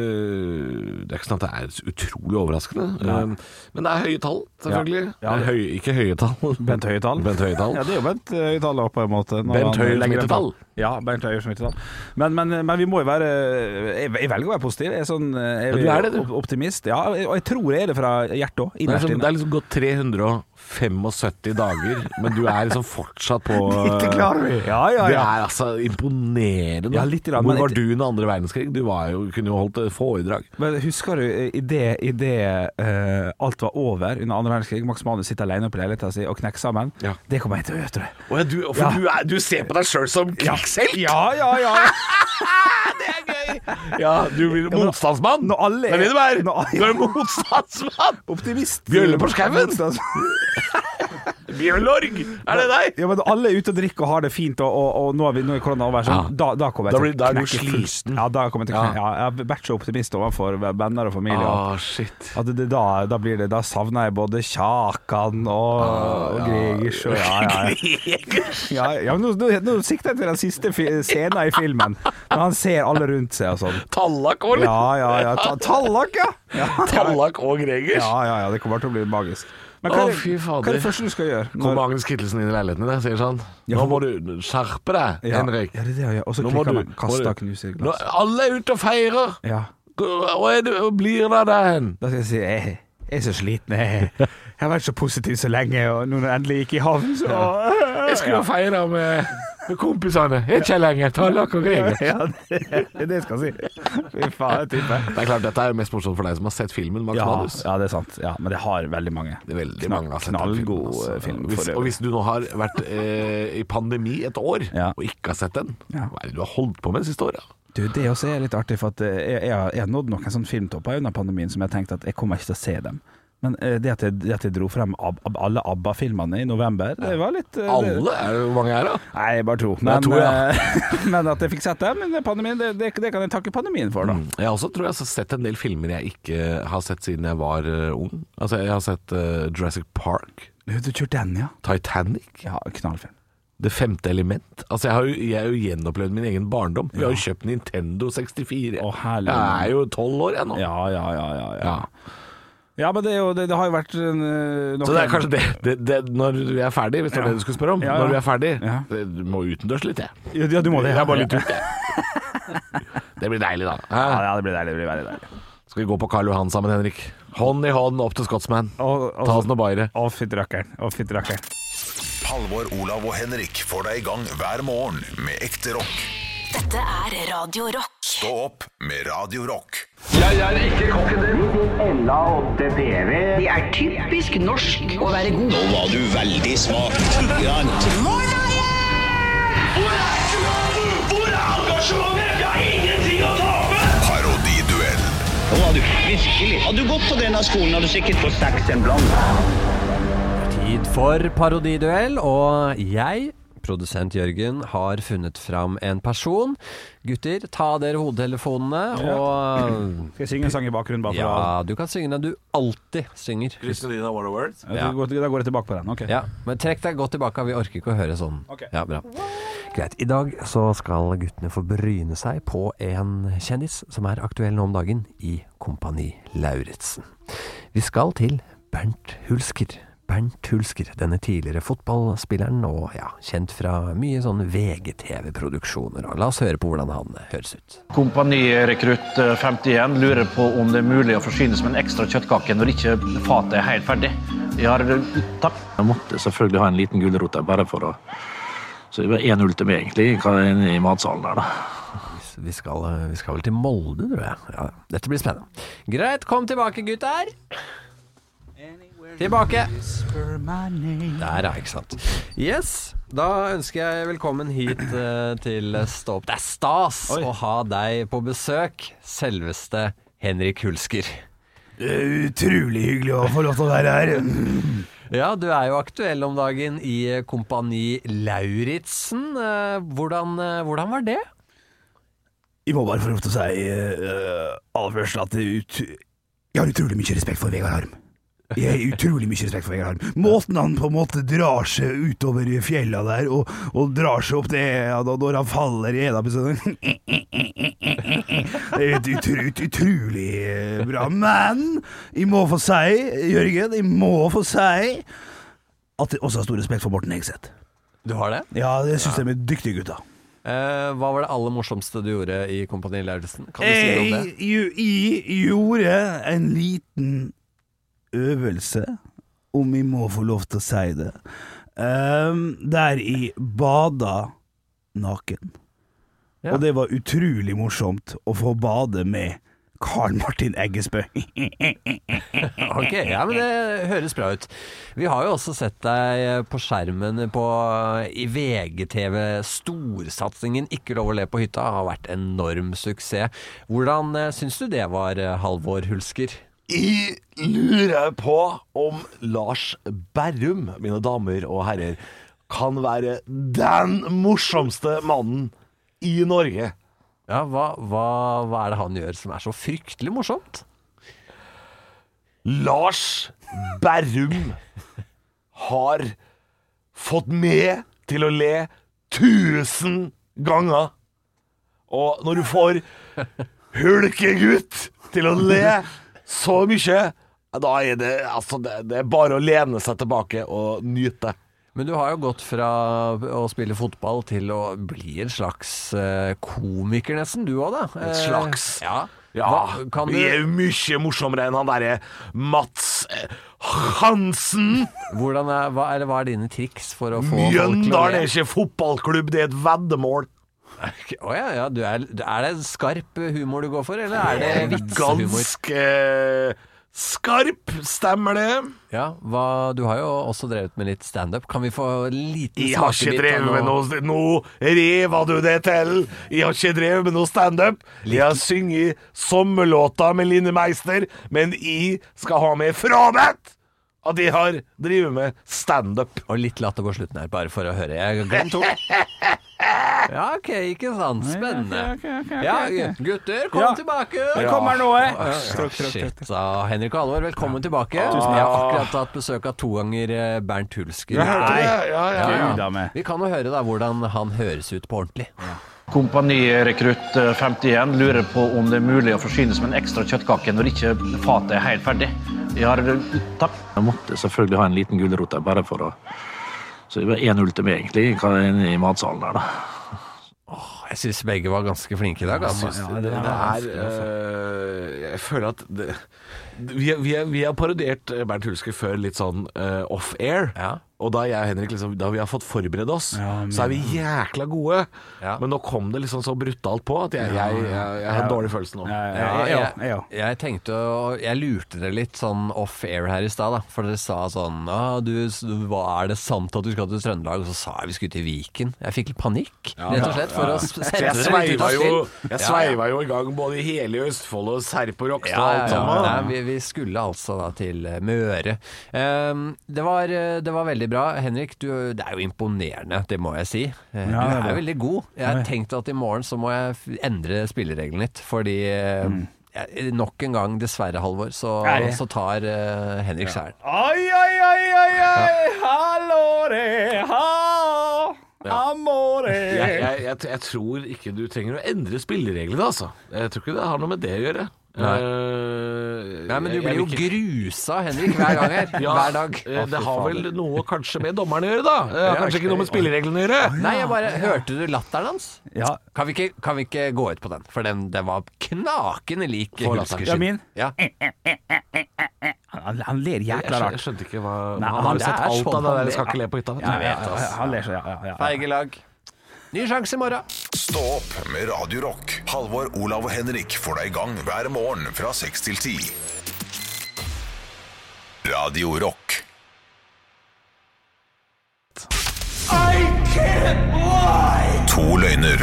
det er ikke sånn at det er utrolig overraskende. Um, Men det er høye tall, selvfølgelig. Ja. Ja, det- Høy, ikke høye tall. Bent Høie tall. Bent Høie tall. Ja, det er jo Bent Høie tall på en måte. når Bent han Høie legger det smittetall. fram. Ja, Bent Høie smittetall. Men, men, eh, men vi må jo være eh, Jeg, jeg velger å være positiv. Jeg er sånn jeg, du er det, du. op- Optimist. Ja, og jeg tror jeg er det sånn fra hjertet òg. Det er, Innerst liksom, det inne. er liksom gått 375 dager, men du er liksom fortsatt på Dette klarer vi. Ja, ja, Det ja. er altså imponerende. Ja, litt i rand, Hvor men- var du under andre verdenskrig? Du var jo, kunne jo holdt et foredrag. Men husker du eh, i det, i det eh, alt var over under andre verdenskrig, Max Manus sitter alene oppe i leiligheten sin og knekker sammen? Ja. Det kommer jeg til å gjøre, tror jeg. Å ja, du, for Ja. du, er, du ser på deg sjøl som krigshelt? Ja, ja, ja. Ja, du blir men- motstandsmann. Når alle det er det du er. Når Du alle, er motstandsmann! optimist. Bjølle på skauen. Motstands- Bjørlorg, er det deg? Ja, men alle er ute og drikker og har det fint, og, og, og nå er vi nå er korona over, så Ja. da, da kommer Da jeg blir- til da er du knekke fullt. sliten. Ja, da kommer jeg til å Ja. Ah. knekke. Ja, jeg er vært så optimist overfor venner og familie. at- shit. At det, det, da, da blir det Da savner jeg både Kjakan og, Ah, og Gregers og ja, ja. ja, ja men nå, nå, nå sikter jeg til den siste fi scenen i filmen, når han ser alle rundt seg og sånn. Tallak og, Ja, ja, ja. Ta, tallak, ja. ja! Tallak og Gregers. Ja, ja, ja. Det kommer til å bli magisk. Men Å, hva er, fy det, hva fader. er det første du skal gjøre? Kommer Agnes Kittelsen inn i leiligheten din og sier sånn Nå må du skjerpe deg, ja, Henrik. Ja, det er det jeg gjør. Og så Nå må klikker du- man. må Kaster du- knuser Nå, glass. alle er ute og feirer! Ja. Hva er det, hva blir det av deg hen? Da skal jeg si jeg, jeg er så sliten. Jeg, jeg har vært så positiv så lenge, og nå når jeg endelig gikk i havn, så Jeg skulle jo feire med, med kompisene. Ikke lenger. Tallak og Gregers. Ja, det er det jeg skal si. Fy faen, jeg tipper. Det er klart, dette er jo mest morsomt for deg som har sett filmen Max Ja, Manus. ja, det er sant. Ja, men det har veldig mange. Det er veldig Knall- mange har sett den Knallgod filmen, altså. eh, film. Hvis, for og øvrig. hvis du nå har vært eh, i pandemi et år Ja. og ikke har sett den, Ja. hva er det du har holdt på med det siste året? Du, det også er litt artig, for at eh, jeg, jeg, har- jeg har nådd noen sånne filmtopper under pandemien som jeg tenkte at jeg kommer ikke til å se dem. Men eh, det at jeg, det at jeg dro frem Ab Ab alle ABBA-filmene i november, det var litt eh, det- Alle? Er det hvor mange er det? Nei, jeg bare to. Nei, Men, to, ja. eh, men at jeg fikk sett dem under pandemien, det, det, det kan jeg takke pandemien for, da. Jeg har også tror jeg har sett en del filmer jeg ikke har sett siden jeg var eh, ung. Altså, jeg har sett eh, Jurassic Park, Du, du kjørte den, ja. Titanic, Ja, knallfilm. Det femte element. Altså, jeg har jo, jeg har jo gjenopplevd min egen barndom. Vi har jo kjøpt Nintendo 64. Å, herlig. jeg er jo tolv år, jeg nå. Ja, ja, ja, ja. ja. Ja. Ja, men det, er jo, det, det har jo vært en, eh, nok Så det er en- kanskje det, det, det Når vi er ferdig, hvis det var det du skulle spørre om. Ja, ja. Når vi er ferdig, Ja. det- du må utendørs litt, jeg. Ja, du må det. Jeg er bare litt ute. Det blir deilig, da. Ja, Hæ? ja, det blir deilig. Det blir veldig deilig. Skal vi gå på Karl Johan sammen, Henrik? Hånd i hånd opp til Scotsman. Og, Ta oss noe baire. Å, fytti rakkeren. Å, fytti rakkeren. Halvor, Olav og Henrik får deg i gang hver morgen med ekte rock. Dette er Radio Rock. Stå opp med Radio Rock. Hvor er engasjementet? Hvor er engasjementet? Jeg Virkelig. Hadde du gått på denne skolen, hadde du sikkert fått seks en blant. Tid for parodiduell, og jeg, produsent Jørgen, har funnet fram en person. Gutter, ta dere hodetelefonene og Skal jeg synge en sang i bakgrunnen? Bare for Ja, du kan synge den du alltid synger. Christina Waterworth. å- Da går- da går jeg tilbake på den. Ok. Ja, men trekk deg godt tilbake, vi orker ikke å høre sånn. Ok. Ja, bra. Greit. I dag så skal guttene få bryne seg på en kjendis som er aktuell nå om dagen i Kompani Lauritzen. Vi skal til Bernt Hulsker. Bernt Hulsker, denne tidligere fotballspilleren og ja, kjent fra mye sånn VGTV-produksjoner. Og La oss høre på hvordan han eh, høres ut. Kompanirekrutt 51 lurer på om det er mulig å forsynes med en ekstra kjøttkake når ikke fatet er helt ferdig. Jeg har eh, takk. Jeg måtte selvfølgelig ha en liten gulrot der, bare for å Så det var 1-0 til meg, egentlig, hva er inne i matsalen der, da. Vi skal, eh, vi skal vel til Molde, tror jeg. Ja, dette blir spennende. Greit, kom tilbake, gutter. Tilbake. Der, ja, ikke sant. Yes, da ønsker jeg velkommen hit eh, til Stå opp. Det er stas å ha deg på besøk, selveste Henrik Hulsker. Det er utrolig hyggelig å få lov til å være her. Ja, du er jo aktuell om dagen i Kompani Lauritzen. Eh, Hvordan, eh, hvordan var det? Jeg må bare få lov til å si eh, aller først at det er ut... jeg har utrolig mye respekt for Vegard Harm. Jeg har utrolig mye respekt for Vegard Harm. Måten han på en måte drar seg utover fjella der, og, og drar seg opp det ja, da- når han faller i ena episode Det er et utro, ut, utrolig eh, bra. Men jeg må få si, Jørgen, jeg må få si at jeg også har stor respekt for Morten Hegseth. Du har det? Ja, det syns de er dyktige gutter. Eh, hva var det aller morsomste du gjorde i Kompani Lauritzen? Kan du si noe om det? Jeg, jo- jeg gjorde en liten øvelse, om jeg må få lov til å si det, ehm, der jeg bada naken. Og det var utrolig morsomt å få bade med Karl Martin Eggesbø. Ok, ja, men det høres bra ut. Vi har jo også sett deg eh, på skjermen på, i VGTV. Storsatsingen 'Ikke lov å le på hytta' har vært enorm suksess. Hvordan eh, syns du det var, eh, Halvor Hulsker? I lurer på om Lars Berrum, mine damer og herrer, kan være den morsomste mannen i Norge. Ja, hva, hva, hva er det han gjør som er så fryktelig morsomt? Lars Berrum har fått med til å le tusen ganger. Og når du får hulkegutt til å le så mye, da er det, altså, det, det er bare å lene seg tilbake og nyte. Men du har jo gått fra å spille fotball til å bli en slags eh, komiker, nesten. Du òg, da. En Eh, slags. Ja. Ja, Hva- kan vi du- er jo mye morsommere enn han derre Mats eh, Hansen. Hvordan er, hva, er, det- hva er dine triks for å få folk til å le? Mjøndalen er ikke fotballklubb, det er et veddemål. Å ja, ja. Du er, er det skarp humor du går for, eller er det vitsehumor? Ganske eh, skarp, stemmer det. Ja, hva, du har jo også drevet med litt standup. Kan vi få en liten Jeg har ikke drevet med noe Nå riva du det til! Jeg har ikke drevet med noe standup. Jeg har sunget sommerlåta med Line Meister, men jeg skal ha meg frabedt at jeg har drevet med standup. Og litt latter på slutten her, bare for å høre. Jeg har glemt ord. Ja, ok, ikke sant. Spennende. Ja, gutter, kom Ja. tilbake! Det kommer noe. eh? Ja, Tråkk, tråkk, Shit, da. Henrik og Halvor, velkommen tilbake. Tusen takk. Vi har akkurat hatt besøk av to ganger eh, Bernt Hulsker. Jeg hørte det, ja, ja, ja. Gud, da meg. Vi kan jo høre da hvordan han høres ut på ordentlig. Kompanirekrutt 51 lurer på om det er mulig å forsynes med en ekstra kjøttkake når ikke fatet er helt ferdig. Jeg har eh, takk. Jeg måtte selvfølgelig ha en liten gulrot der, bare for å Så det var 1-0 til meg, egentlig, hva er inne i matsalen der, da. Jeg syns begge var ganske flinke i dag. Ja, Altså. jeg synes Ja, det- det Det Eh, er- er eh, øh, Jeg føler at eh, det, vi, vi, vi har parodiert Bernt Hulsker før litt sånn øh, off-air. Og da jeg og Henrik liksom, da vi har fått forberedt oss, så er vi jækla gode. Men nå kom det liksom så brutalt på at jeg, jeg, jeg, jeg har en dårlig følelse nå. Ja, jeg, jeg tenkte å- Jeg lurte dere litt sånn off air her i stad, da. For dere sa sånn ah, du, s- hva Er det sant at du skal til Trøndelag? Og så sa jeg vi skulle til Viken. Jeg fikk litt panikk, rett og slett, for å s- sette dere jeg litt ut sveiva av jo, spill. jeg Ja, sveiva jo i gang både i hele Østfold og Serp og Rokstad Ja, og ja, alt ja. Nei, sammen. vi, vi skulle altså da til eh, Møre. Ehm, det, var, eh, det var veldig bra. Henrik, du, det er jo imponerende, det må jeg si. Eh, Ja, det du er er bra. veldig god. Jeg Oi. tenkte at i morgen så må jeg f- endre spilleregelen litt, fordi eh, Mm. jeg- Nok en gang, dessverre, Halvor, så, Er det? så tar eh, Henrik skjæren. Oi, oi, oi, oi, oi, hallore, ha, Ja. amore. Jeg, jeg, jeg, jeg tror ikke du trenger å endre spillereglene, altså. Jeg tror ikke det har noe med det å gjøre. Nei. Eh, Nei, men du jeg- blir jeg jo vil ikke- grusa, Henrik, hver gang her. Ja, Hver dag. eh, det har vel noe kanskje med dommeren å gjøre, da. Det Ja, har kanskje ikke noe med ok. spillereglene å gjøre. Nei, jeg bare Hørte du latteren hans? Ja. Kan vi ikke, kan vi ikke gå ut på den? For den, den var knakende lik Få latteren. Hulsker Ja, min? Ja. Han, han ler Jeg jækla skjønte, rart. jeg skjønte ikke hva Han Nei, han- har jo det sett er alt sånn av det han der ler. 'Skal ikke le på hytta'. altså. vet du. Ja, jeg vet, ass. Han ler så, ja, ja, ja, ja. Feigelag. Ny sjanse i morgen. Stå opp med Radio Rock. Halvor, Olav og Henrik får deg i gang hver morgen fra 6 til 10. Radio Rock. I can't lie! To løgner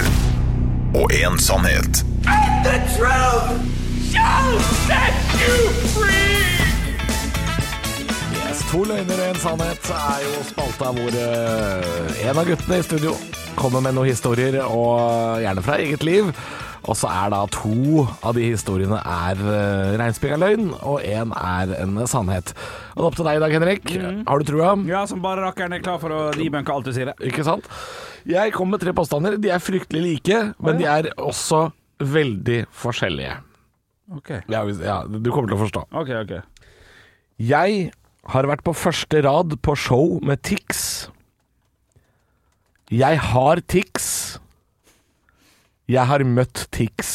og én sannhet. And the truth shall set you free! Yes, to løgner og en sannhet er jo spalta hvor eh, en av guttene i studio kommer med noen historier, og gjerne fra eget liv. Og så er da to av de historiene er uh, reinspikka løgn, og én er en sannhet. Og det er opp til deg i dag, Henrik. Har du trua? Ja, som bare rakkeren er klar for å debunke alt du sier. Ikke sant? Jeg kom med tre påstander. De er fryktelig like, men de er også veldig forskjellige. Ok, Ja, hvis- ja, du kommer til å forstå. ok. ok. Jeg har vært på første rad på show med Tix. Jeg har Tix. Jeg har møtt Tix.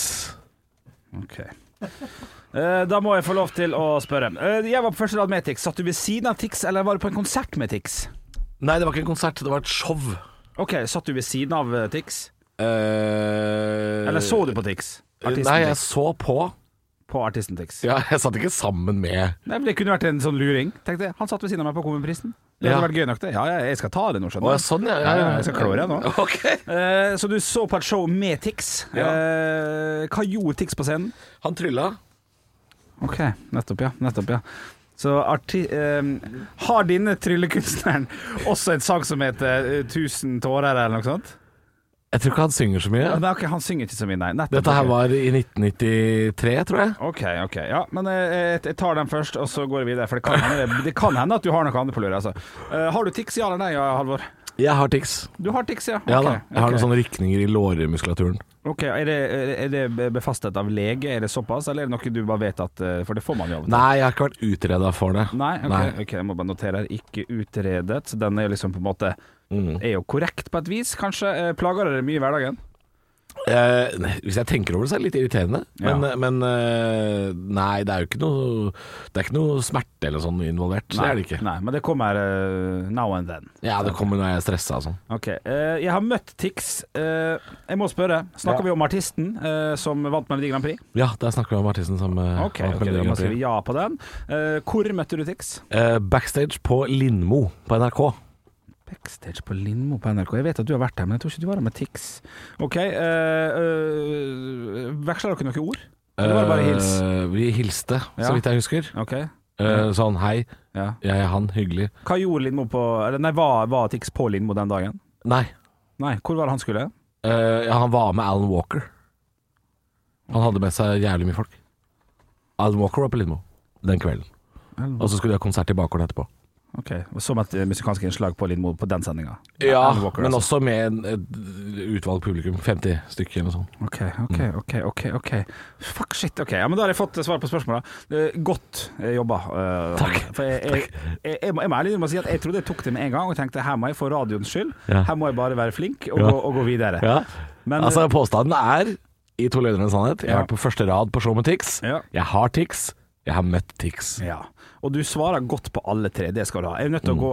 Ok. Eh, Da må jeg få lov til å spørre. Eh, Jeg var på første rad med Tix. Satt du ved siden av Tix, eller var du på en konsert med Tix? Nei, det var ikke en konsert, det var et show. Ok, satt du ved siden av eh, Tix? Eh, Eller så du på Tix? Artisten Nei, jeg Tix. så på. På artisten Tix. Ja, jeg satt ikke sammen med Nei, men Det kunne vært en sånn luring, tenkte jeg. Han satt ved siden av meg på Komiprisen. Det hadde Ja. vært gøy nok, det. Ja, jeg, jeg skal ta det nå, skjønner Å, ja, du. sånn, ja, ja, ja. Jeg skal klå deg nå. Ok. Eh, Så du så på et show med Tix. Ja. Eh, Hva gjorde Tix på scenen? Han trylla. Ok, nettopp, ja. Nettopp, ja. Så arti eh, har denne tryllekunstneren også en sang som heter eh, 'Tusen tårer', eller noe sånt? Jeg tror ikke han synger så mye. Men ok, han synger ikke så mye, nei. Nettopp, Dette her ok. var i 1993, tror jeg. OK, ok. Ja, men eh, jeg, jeg tar den først, og så går jeg videre. For det kan hende, det kan hende at du har noe annet på lur. Altså. Eh, har du tics, ja eller nei, ja, Halvor? Jeg har Tix. Du har tics, ja? Ja Ok, da. Jeg har sånn- ok. noen sånne rykninger i lårmuskulaturen. Ok, er det, er det befastet av lege, er det såpass, eller er det noe du bare vet at eh, For det får man jo av og til. Nei, jeg har ikke vært utreda for det. Nei, ok, Nei. ok, jeg må bare notere her. Ikke utredet. Så den er jo liksom på en måte Mm. Er jo korrekt på et vis, kanskje. Eh, Plager det deg mye i hverdagen? Eh, nei, hvis jeg tenker over det, så er det litt irriterende. Ja. Men, men eh, nei, det er jo ikke noe Det er ikke noe smerte eller sånn involvert. Så det er det ikke. Nei, men det kommer eh, now and then. Ja, det kommer når jeg er stressa og sånn. Ok, eh, Jeg har møtt Tix. Eh, jeg må spørre, snakker vi om artisten eh, som vant Melodi Grand Prix? Ja, der snakker vi om artisten som eh, Ok, har ok, Melodi da Grand må Prix. skrive ja på den. Eh, hvor møtte du Tix? Eh, Backstage på Lindmo på NRK. Backstage på Lindmo på NRK. Jeg vet at du har vært der, men jeg tror ikke du var der med Tix. Ok, eh, eh, Veksla dere noen ord? Eller var det bare hils? Eh, vi hilste, Ja. så vidt jeg husker. Ok. Eh, sånn hei, Ja. jeg er han, hyggelig. Hva gjorde Lindmo på eller Nei, var, var Tix på Lindmo den dagen? Nei, Nei, hvor var det han skulle? Eh, ja, han var med Alan Walker. Han hadde med seg jævlig mye folk. Alan Walker var på Lindmo den kvelden. Og så skulle de ha konsert i bakgården etterpå. Ok, Som et eh, musikalsk innslag på Lindmo på den sendinga? Ja, Alan Walker, men altså. også med en, et utvalgt publikum. 50 stykker eller noe sånt. Ok, ok, Mm. ok, ok, ok Fuck shit, ok. Ja, men Da har jeg fått eh, svar på spørsmåla. Eh, godt eh, jobba. eh, Takk. For jeg, jeg, jeg, jeg, må- jeg må ærlig innrømme å si at jeg trodde jeg tok det med en gang og tenkte her må jeg for radioens skyld. Ja. Her må jeg bare være flink og, Ja. gå, og gå videre. Ja. Men, eh, altså, påstanden er, i To løgner og en sannhet, jeg Ja. har vært på første rad på show med Tix. Ja. Jeg har Tix. Jeg har møtt Tix. Ja. Og du svarer godt på alle tre, det skal du ha. Jeg er nødt til Mm. å gå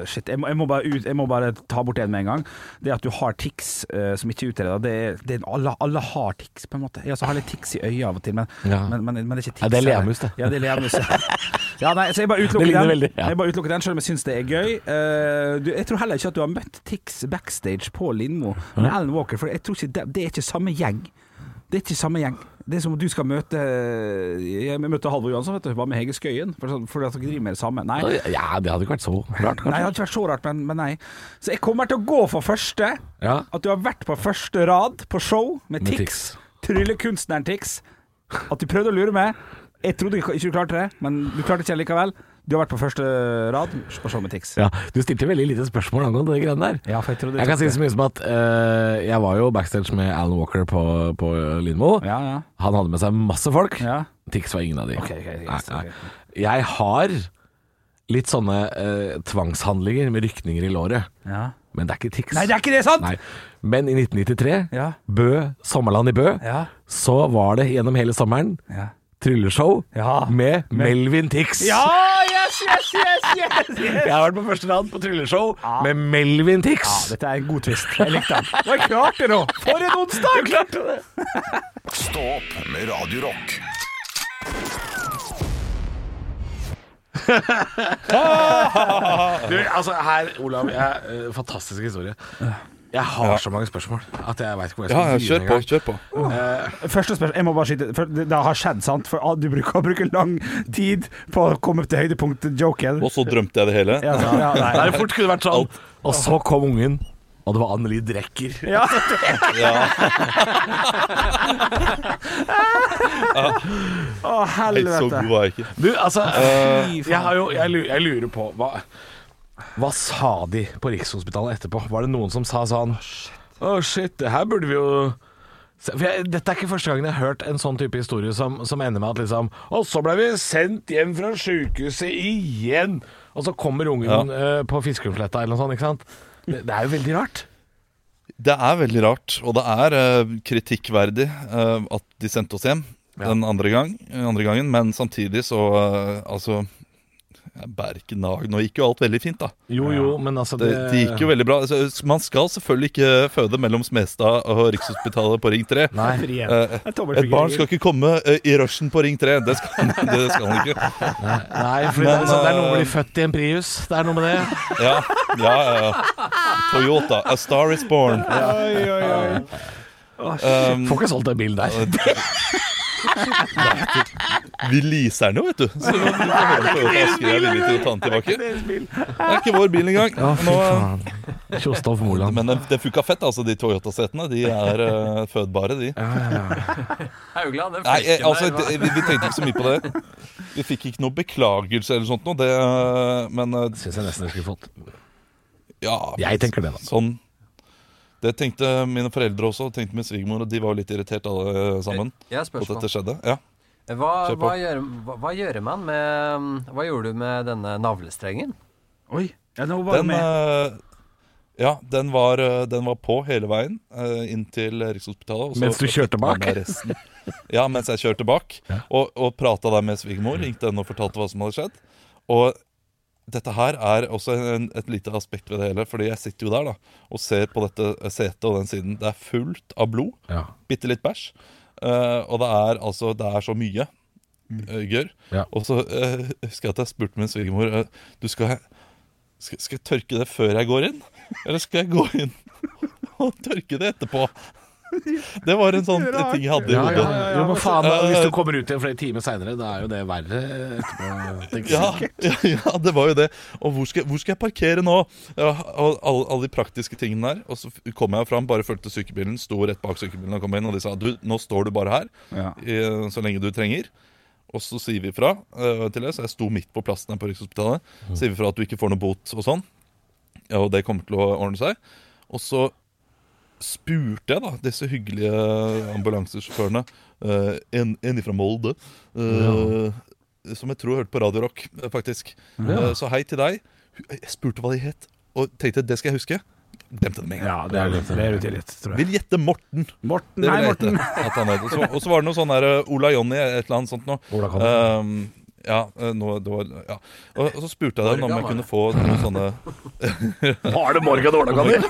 eh, Shit, jeg må, jeg, må bare ut, jeg må bare ta bort en med en gang. Det at du har tics eh, som ikke er utreda, det, er- det er alle, alle har tics, på en måte. Jeg også har litt tics i øyet av og til, men, Ja. men, men, men det er ikke tics. Ja, det er eller- leamus, det. Ja, det er leamus. ja. Ja, nei, så jeg bare utelukker Det ligner den. veldig, ja. Jeg bare utelukker den, selv om jeg syns det er gøy. Eh, du, jeg tror heller ikke at du har møtt Tix backstage på Lindmo med Alan Walker, for jeg tror ikke det, det er ikke samme gjeng. Det er ikke samme gjeng. Det er som om du skal møte eh, Jeg møtte Halvor Johansson, vet du. Hva med Hege Skøyen? For, sånn- for at dere driver med det samme. Nei. Ja, det hadde ikke vært så rart, Nei, det hadde ikke vært så rart, men, men nei. Så jeg kommer til å gå for første. Ja. At du har vært på første rad på show med Med Tix. Tryllekunstneren Tix. At du prøvde å lure meg. Jeg trodde ikke ikke du klarte det, men du klarte ikke det likevel. Du har vært på første rad på show med Tix. Ja, du stilte veldig lite spørsmål angående de greiene der. Ja, for jeg trodde Jeg kan si så mye som at eh, jeg var jo backstage med Alan Walker på, på Lindmo. Han hadde med seg masse folk. Tix var ingen av de. nei, nei. Jeg har litt sånne eh, tvangshandlinger med rykninger i låret. Ja. Men det er ikke Tix. Nei, det er ikke det, sant? Nei. Men i 1993, Ja. Bø, Sommerland i Bø, Ja. så var det gjennom hele sommeren Ja. trylleshow med Ah, Med- Melvin Tix. yes, yes, yes, yes, Jeg har vært på første rad på trylleshow Ah. med Melvin Tix. Ja, dette er en god twist. Jeg likte den. Du har klart det nå! For en onsdag! Du klarte det! Stå opp med Radio Rock. du, altså her, Olav, jeg, eh, fantastisk historie. Jeg har Ja. så mange spørsmål at jeg veit ikke hvor jeg Ja, skal ja, begynne kjør på, engang. kjør på. Første spørsmål Jeg må bare skyte for Det det har skjedd, sant? For ah, du bruker å bruke lang tid på å komme opp til høydepunktet-joken. Og så drømte jeg det hele. Ja, så- ja, nei. Det fort kunne vært sånn. Og så kom ungen, og det var Anneli Drecker. Ja. Å, helvete. Så god var jeg ikke. Du, altså Eh, jeg, har jo, jeg, lurer, jeg lurer på hva, hva sa de på Rikshospitalet etterpå? Var det noen som sa sånn Å, shit, det her burde vi jo se-" for jeg, Dette er ikke første gangen jeg har hørt en sånn type historie som, som ender med at liksom Og så ble vi sendt hjem fra sjukehuset igjen! Og så kommer ungen eh, på Fiskerudsletta eller noe sånt, ikke sant? Det, det er jo veldig rart. Det er veldig rart, og det er eh, kritikkverdig eh, at de sendte oss hjem den andre, gang, andre gangen. Men samtidig så eh, Altså, jeg bærer ikke nag. Nå gikk jo alt veldig fint, da. Jo jo, men altså Det, det gikk jo veldig bra. Altså, Man skal selvfølgelig ikke føde mellom Smestad og Rikshospitalet på Ring 3. Nei. Frihet. Eh, Det er et tommelfingeren. barn skal ikke komme eh, i rushen på Ring 3. Det skal, det skal han ikke. Nei, for det, er liksom- det er eh, noe med å bli født i en Prius. Det er noe med det. Ja, ja, ja, ja. Toyota, A Star Is Born. Oi, oi, oi. Um, Får ikke solgt den bilen der. Vi leaser den jo, vet du. Så du får høre på Toyota Asker er villig til å ta den tilbake. Det er ikke vår bil engang. Ja, fy Nå- faen. Kjostolf Moland. Men det, det funka fett, altså. De Toyota-setene De er eh, fødbare, de. Haugland, den Nei, eh, flekken altså, der, det, hva? vi, vi tenkte ikke så mye på det. Vi fikk ikke noe beklagelse eller sånt noe, det, eh, men eh, Syns jeg nesten vi skulle fått. ja, Jeg tenker det, da. Sånn. Det tenkte mine foreldre også, og tenkte min svigermor, og de var jo litt irritert alle sammen. Jeg har på at spørsmål. dette skjedde. Ja. Hva, Kjør på. hva, gjør, hva, hva gjør man med Hva gjorde du med denne navlestrengen? Oi. Ja, nå var Den, med. eh, ja, den var, eh, den var på hele veien eh, inn til Rikshospitalet. og så Mens du kjørte fikk man bak? med resten. Ja, mens jeg kjørte bak. Og, og prata der med svigermor. Ringte henne og fortalte hva som hadde skjedd. Og dette her er også en, et lite aspekt ved det hele, fordi jeg sitter jo der da og ser på dette setet og den siden. Det er fullt av blod. Ja. Bitte litt bæsj. eh, og det er altså Det er så mye eh, gørr. Mm. Ja. Og så eh, husker jeg at jeg spurte min svigermor eh, Du skal skal, skal jeg tørke det før jeg går inn? Eller skal jeg gå inn og tørke det etterpå? Det var en sånn ting jeg hadde i Ja, hodet. ja, ja, Jo, men faen, da, hvis du Eh, kommer ut igjen flere timer seinere, da er jo det verre etterpå. tenker ja, jeg. ja, ja, det var jo det. Og hvor skal, hvor skal jeg parkere nå? Ja, og alle, alle de praktiske tingene der. Og så f- kom jeg fram, bare fulgte sykebilen, sto rett bak sykebilen og kom inn. Og de sa du, nå står du bare her Ja. eh, så lenge du trenger. Og så sier vi fra eh, til det, så jeg sto midt på plassen her på Rikshospitalet. Sier vi fra at du ikke får noe bot og sånn. Ja, og det kommer til å ordne seg. Og så spurte jeg da disse hyggelige ambulansesjåførene, eh, en, en fra Molde, eh, som jeg tror hørte på Radio Rock, eh, faktisk. Ja. Eh, så hei til deg. Jeg spurte hva de het, og tenkte det skal jeg huske. Glemte det med en gang. Ja, det er litt- det er jo tillit, tror jeg. Vil gjette Morten. Morten, Det vil nei, jeg gjette Morten. At han heter. Så, og så var det noe sånn der eh, Ola Jonny, et eller annet sånt noe. Ola Conny. Um, ja, eh, nå- det var, ja. Og, og så spurte jeg dem om jeg Morgan, kunne få noen sånne Var det Morgan Ola Conny?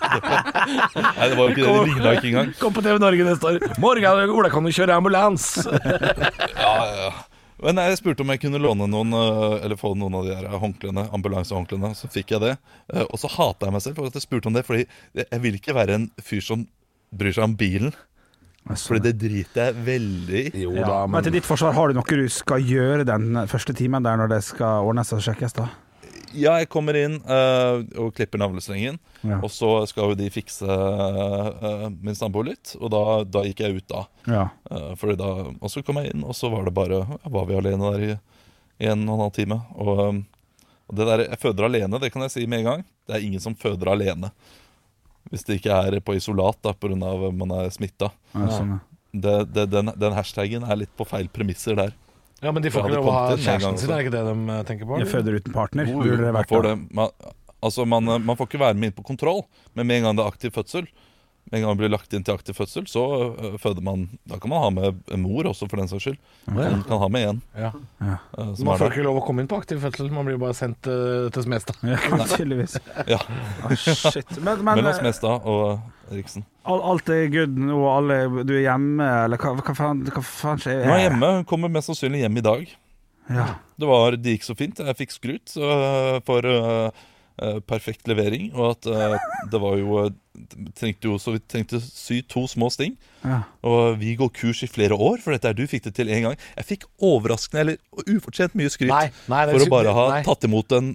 Nei, det var jo ikke det. Det ligna ikke engang. Kom på TV Norge neste år. Morgan Ola, kan du kjøre ambulans? Ja, ja, ja. Men jeg spurte om jeg kunne låne noen eh, Eller få noen av de her håndklærne, ambulansehåndklærne. Så fikk jeg det. Eh, Og så hata jeg meg selv for at jeg spurte om det, Fordi jeg vil ikke være en fyr som bryr seg om bilen. Fordi det driter jeg veldig i. Ja. men... til ditt forsvar, har du noe du skal gjøre den første timen der når det skal ordnes og sjekkes, da? Ja, jeg kommer inn eh, og klipper navlestrengen. Ja. Og så skal jo de fikse eh, min samboer litt, og da, da gikk jeg ut da. Ja. Eh, fordi da. Og så kom jeg inn, og så var det bare ja, var vi alene der i, i en og en halv time. Og, eh, og det der jeg føder alene, det kan jeg si med en gang. Det er ingen som føder alene. Hvis det ikke er på isolat da, pga. at man er smitta. Ja, sånn, ja. Det- det- den, den hashtagen er litt på feil premisser der. Ja, men de Jeg får ikke hadde lov å ha kommet inn en gang kjæresten sin, også. er det ikke det de eh, tenker på? Jeg føder uten partner. Jo, Burde det man, vært får da? det. Man, altså man, man får ikke være med inn på kontroll, men med en gang det er aktiv fødsel Med en gang man blir lagt inn til aktiv fødsel, så øh, føder man Da kan man ha med en mor også, for den saks skyld. ja. Man kan ha med én. Ja. Man øh, som er får der. ikke lov å komme inn på aktiv fødsel, man blir bare sendt eh, til Smestad. tydeligvis. Ja. Ah, shit. Men- men- Mellom Smestad og Riksen. All, alt er good nå, alle, du er hjemme, eller hva, hva faen, hva faen skjer? Nå er jeg hjemme. Hun kommer mest sannsynlig hjem i dag. Ja. Det, var, det gikk så fint. Jeg fikk skryt øh, for øh, øh, perfekt levering. Og at øh, det var jo øh, Trengte jo så vidt trengte sy to små sting. Ja. Og vi går kurs i flere år, for dette er du fikk det til én gang. Jeg fikk overraskende eller ufortjent mye skryt Nei, nei, det for synes- å bare ha nei. tatt imot en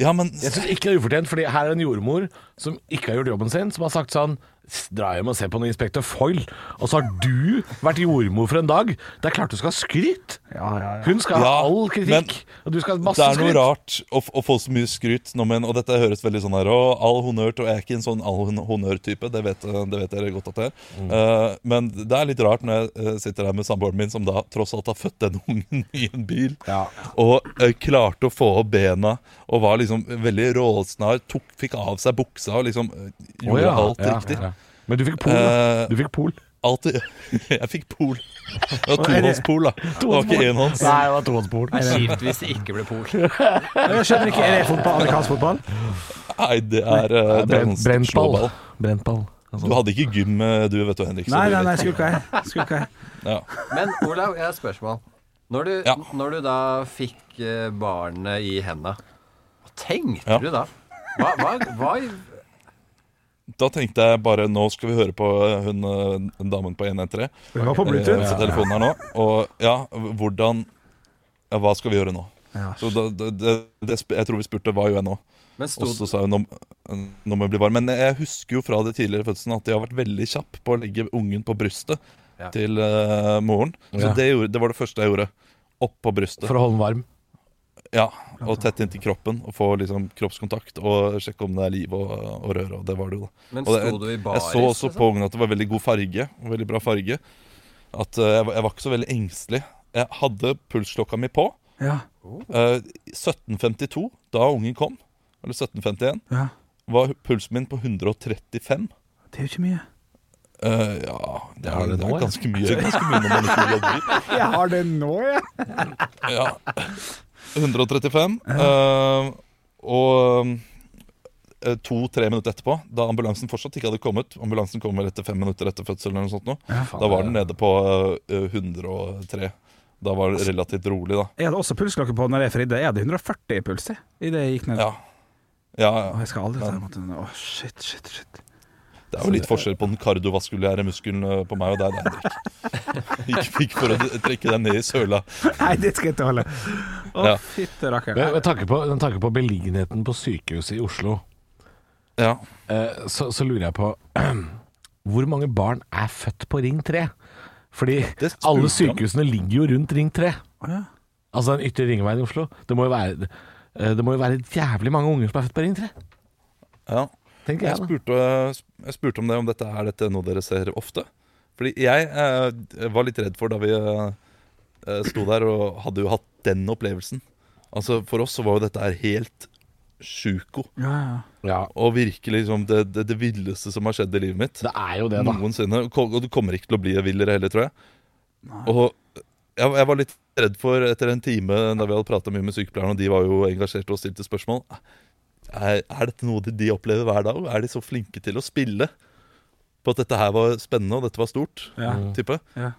Ja, men Jeg syns ikke det er ufortjent, Fordi her er en jordmor som ikke har gjort jobben sin, som har sagt sånn "S- Dra hjem og se på noe Inspector Foil, og så har du vært jordmor for en dag. Det er klart du skal ha skryt! Hun skal ha Ja, all kritikk, men og du skal ha Det masse er noe skryt. rart å, f- å få så mye skryt, nå, men, og dette høres veldig sånn her Å, all honnør til Og jeg er ikke en sånn all hon- honnør-type, det, vet- eh, det vet dere godt at jeg er. Mm. Eh, men det er litt rart når jeg eh, sitter her med samboeren min, som da tross alt har født den ungen i en bil, og eh, klarte å få opp bena og var liksom veldig råsnar, tok, fikk av seg buksa og liksom eh, gjorde Å, ja. alt Ja, riktig. ja. Men du fikk pol, da. Du fikk pol. Alltid. Jeg fikk pol. Det var tohåndspol, da. Det var ikke enhånds. Nei, det var tohåndspol. Kjipt hvis det ikke ble pol. Jeg skjønner ikke, er det fotball, amerikansk fotball? Nei, det er, eh, det er Brent- sånn Brentball. slåball. Brentball. Du hadde ikke gym, eh, du vet du, Henrik. så Nei, nei, du vet nei, ikke. skulle ikke jeg. Skulle ikke jeg. Ja. Men Olav, jeg har et spørsmål. Når du, når du da fikk eh, barnet i henda, hva tenkte du da? Hva, hva, hva Da tenkte jeg bare Nå skal vi høre på eh, hun eh, damen på 113. Hun var på Bluetooth. Eh, På telefonen her nå. Og ja, hvordan ja, Hva skal vi gjøre nå? Ja. Så da, det, det, det, sp- jeg tror vi spurte hva gjør jeg nå? Men sto- Og så sa hun nå, nå må jeg bli varm. Men jeg husker jo fra de tidligere fødslene at jeg har vært veldig kjapp på å legge ungen på brystet Ja. til eh, moren. Så Ja. det, gjorde, det var det første jeg gjorde. Opp på brystet. For å holde den varm. Ja, og tett inntil kroppen og få liksom kroppskontakt og sjekke om det er liv og, og røre, og det var det jo. da Men og det, sto du i Jeg baris, så også liksom? på ungen at det var veldig god farge, og veldig bra farge. At eh, jeg, var- jeg var ikke så veldig engstelig. Jeg hadde pulsklokka mi på. Ja. Eh, 1752, da ungen kom, eller 1751, Ja. var pulsen min på 135. Det er jo ikke mye. Eh, ja, det har er, det det nå, er ja. ganske mye, ganske mye når man ikke jobber. Jeg har det nå, jeg. Ja. 135. eh, og eh, to-tre minutter etterpå, da ambulansen fortsatt ikke hadde kommet Ambulansen kom vel etter fem minutter etter fødselen, eller noe sånt nå, Ja, faen, da var det- den nede på eh, 103. Da var det relativt rolig, da. Jeg hadde også pulsklokke på når jeg fridde. Jeg hadde 140 i puls jeg, i det jeg gikk ned. Ja. Ja, ja. Og jeg skal aldri ta Men imot den. Å, shit, shit, shit. det er jo litt forskjell på den kardiovaskulære muskelen eh, på meg og deg, Henrik. Ikke fikk for å trekke den ned i søla. Nei, det skal jeg ikke holde. Å, Ja. fytte rakker. Med, med, tanke på, med tanke på beliggenheten på sykehuset i Oslo, eh, så, så lurer jeg på Hvor mange barn er født på Ring 3? Fordi alle sykehusene ligger jo rundt Ring 3. ja. Altså den ytre ringveien i Oslo. Det må jo være, eh, det må jo være jævlig mange unger som er født på Ring 3. Ja. Tenker jeg Jeg da. spurte, jeg spurte om det, om dette er dette noe dere ser ofte. Fordi jeg eh, var litt redd for da vi eh, sto der og hadde jo hatt den opplevelsen. Altså For oss så var jo dette her helt sjuko. Ja, ja. Og virkelig liksom det, det, det villeste som har skjedd i livet mitt. Det er jo det, da. Noensinne. Ko- Og du kommer ikke til å bli villere heller, tror jeg. Og jeg, jeg var litt redd for, etter en time der vi hadde prata mye med sykepleierne, og de var jo engasjerte og stilte spørsmål Er, er dette noe de, de opplever hver dag? Er de så flinke til å spille på at dette her var spennende og dette var stort? Ja. Mm. Type. Ja.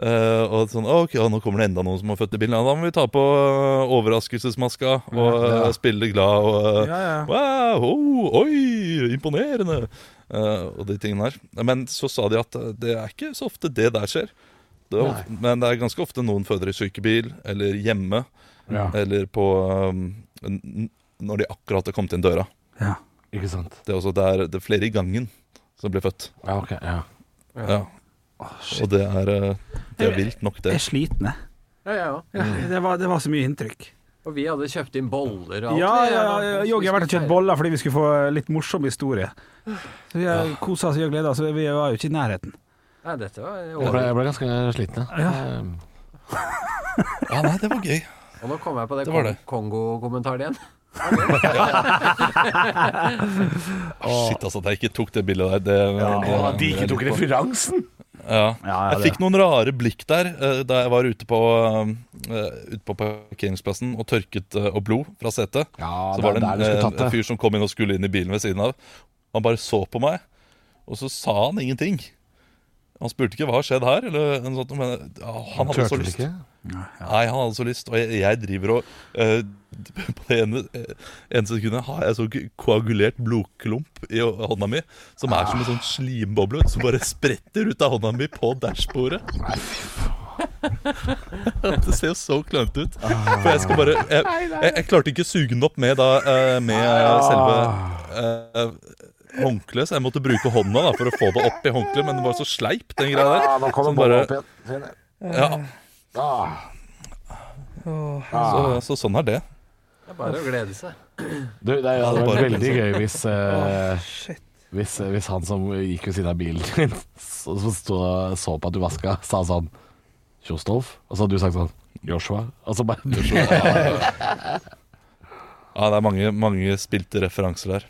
Eh, og sånn, «Å, ok, ja, nå kommer det enda noen som har født i bilen. Ja, da må vi ta på eh, overraskelsesmaska og eh, spille glad og eh, Ja, ja. Wow, oh, oi, imponerende! Eh, og de tingene her. Men så sa de at eh, det er ikke så ofte det der skjer. Det er ofte, men det er ganske ofte noen føder i sykebil eller hjemme. Ja. Eller på eh, n- n- Når de akkurat har kommet inn døra. Ja. Ikke sant? Det er også der, det er flere i gangen som blir født. Ja, ok, ja. Ja. og det er, eh, det er vilt nok, det. Jeg er sliten, jeg. Ja, jeg òg. Ja, det, var, det var så mye inntrykk. Og vi hadde kjøpt inn boller og alt. Ja, ja, ja. Jogge har vært og kjøpt boller fordi vi skulle få litt morsom historie. Så vi har kosa oss og gleda oss, og vi var jo ikke i nærheten. Nei, dette var Jeg ble, jeg ble ganske sliten, jeg. Ehm, Ja, nei, det var gøy. Og nå kom jeg på det, Det var Kong det. Kongo-kommentaren igjen. Shit, altså, at jeg ikke tok det bildet der. Det, at de ikke tok referansen! Ja. ja, jeg det- fikk noen rare blikk der eh, da jeg var ute på, eh, ute på parkeringsplassen og tørket eh, og blod fra setet. så det var er det der en, du skulle eh, tatt det. en fyr som kom inn og skulle inn i bilen ved siden av. Han bare så på meg, og så sa han ingenting. Han spurte ikke hva har skjedd her, eller noe sånt, men ja, han hadde Turte så du lyst. ikke? Nei, han hadde så lyst, og jeg, jeg driver og eh, På det ene, eh, ene sekundet har jeg så k- koagulert blodklump i å- hånda mi, som er som en sånn slimboble vet du, som bare spretter ut av hånda mi på dashbordet. Det ser jo så klønete ut. Ah. For jeg skal bare Jeg, jeg, jeg klarte ikke å suge den opp med, da, eh, med Ah. selve eh, håndkleet, så jeg måtte bruke hånda da, for å få det opp i håndkleet, men det var så sleipt, den greia der. Ja, Ah, nå kommer som bolla bare- opp igjen. Ja, Ah. så, så sånn er det. Det er bare å glede seg. Du, det Ja, hadde vært det bare- veldig gøy hvis, eh, hvis, eh, hvis han som gikk ved siden av bilen din, så, så, stod- så på at du vaska, sa sånn Kjostolf? Og så hadde du sagt sånn Joshua? Og så bare Ja, det er mange, mange spilte referanser der.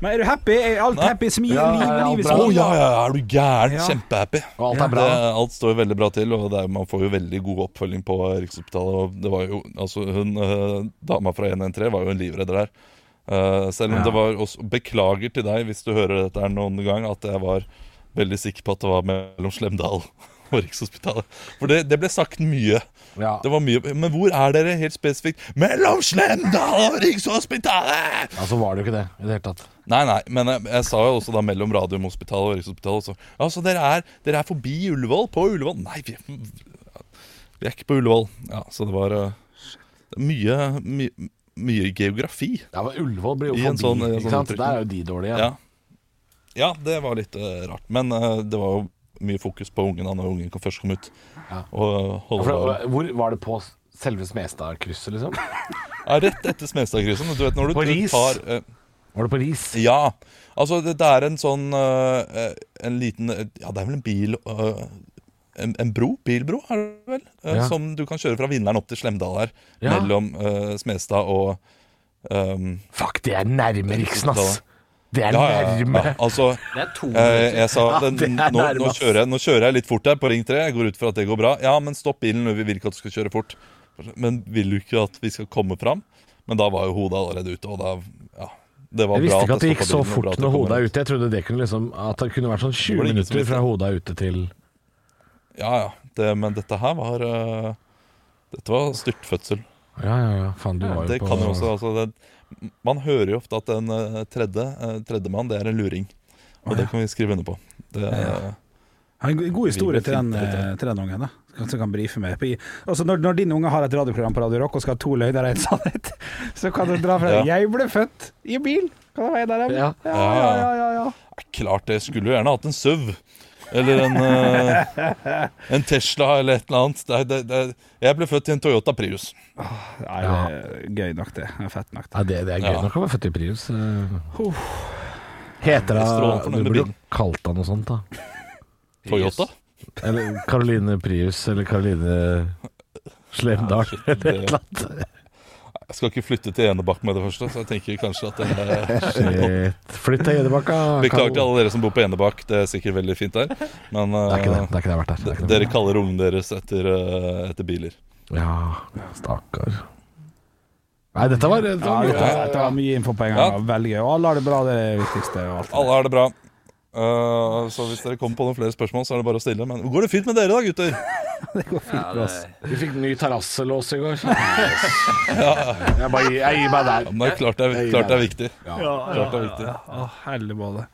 Men er du happy? Er alt happy? Smil? Ja, liv, ja, livet bra. smil. Å, ja, ja, ja, er du gæren? Ja. Kjempehappy. Og alt er bra. Det, alt står jo veldig bra til, og det er, man får jo veldig god oppfølging på Rikshospitalet. Og det var jo, altså, hun, eh, dama fra 113 var jo en livredder der. Eh, selv om det var også, Beklager til deg hvis du hører dette her noen gang, at jeg var veldig sikker på at det var mellom Slemdal og Rikshospitalet. For det, det ble sagt mye. Ja. Det var mye. Men hvor er dere helt spesifikt? Mellom Slemdal og Rikshospitalet! Ja, så var det jo ikke det i det hele tatt. Nei, nei, men jeg, jeg sa jo også da mellom Radiumhospitalet og Rikshospitalet også. Ja, så dere er, dere er forbi Ullevål? På Ullevål? Nei, vi, vi er ikke på Ullevål. Ja, så det var eh, mye, my, mye geografi. Ja, men Ullevål blir jo I en forbi, sånn- i en ikke sånn sant? uttrykning. Der er jo de dårlige. Ja. ja, det var litt eh, rart. Men eh, det var jo mye fokus på ungen da når ungen kom- først kom ut. Og eh, Ja, holde for, hvor var det på selve Smestadkrysset, liksom? Ja, rett etter Smestadkrysset. Du vet når du På du Ris? tar eh, Var det på Ris? Ja. Altså, det, det er en sånn eh, En liten Ja, det er vel en bil eh, en, en bro? Bilbro, er det vel? Eh, Ja. Som du kan kjøre fra Vinderen opp til Slemdal her. Ja. Mellom eh, Smestad og um, Fuck, det er nærme Riksen, ass! Det er nærme. altså, Det er to eh, minutter. jeg sa Ja, den, det er nå, nærme, nå, ass. kjører jeg, nå kjører jeg litt fort her på Ring 3. Jeg går ut fra at det går bra. Ja, men stopp bilen. Vi vil ikke at du skal kjøre fort. Men vil du ikke at vi skal komme fram? Men da var jo hodet allerede ute, og da Ja. Det var Jeg visste bra ikke at det gikk stoppet så bilen, og fort bra at det når kom hodet en- er ute. Jeg trodde det kunne liksom At det kunne vært sånn 20 ingen som minutter visste. fra hodet er ute til Ja, ja. Det, men dette her var eh, Dette var styrtfødsel. Ja, ja, ja. Faen, du var jo Det på kan jo også altså, det, Man hører jo ofte at en eh, tredje eh, tredjemann, det er en luring. Og det kan vi skrive under på. Det, Ja. Ha en go- god historie til den, eh, til den ungen, da. Som- Som kan brife meg. på i- Altså, når, når din unge har et radioprogram på Radio Rock og skal ha to løgner og en sannhet, så kan du dra fra Ja. 'Jeg ble født i bil'. Kan det være der? Ja. Ja, Ja, ja, ja. ja, ja, ja. Eh, Klart det. Skulle jo gjerne hatt en SUV. Eller en, eh, en Tesla eller et eller annet. Det, er- det, det, jeg ble født i en Toyota Prius. Nei, det er gøy nok, det. Det er Fett nok. Ja, det, det er gøy Ja. nok å være født i Prius. eh. Heter Strålende det Du fornøyd med burde jo bilen. kalt deg noe sånt, da. Toyota? Eller Caroline Prius, eller Caroline Slemdal, Shit, eller et det- eller annet. Jeg skal ikke flytte til Enebakk med det første, så jeg tenker kanskje at det Eh, Shit. Flytt til Enebakka. Beklager til alle dere som bor på Enebakk, det er sikkert veldig fint der. Men Det er ikke det. eh, Det er ikke det verdt det. Det er ikke det dere kaller ungene deres etter, eh, etter biler. Ja, stakkar. Nei, dette var, dette var Ja, mye. dette, dette var mye info på en gang. Ja. Veldig gøy. Og alle har det bra, det er det viktigste. Og alt. Alle har det bra. Eh, så hvis dere kommer på noen flere spørsmål, så er det bare å stille. Men går det fint med dere da, gutter? Ja, det- Vi fikk ny terrasselås i går. Jeg, bare gir- jeg gir meg der. Ja, men det er klart det er, Jeg gir klart det er meg viktig. Ja. Klart det er viktig. Å, helvete.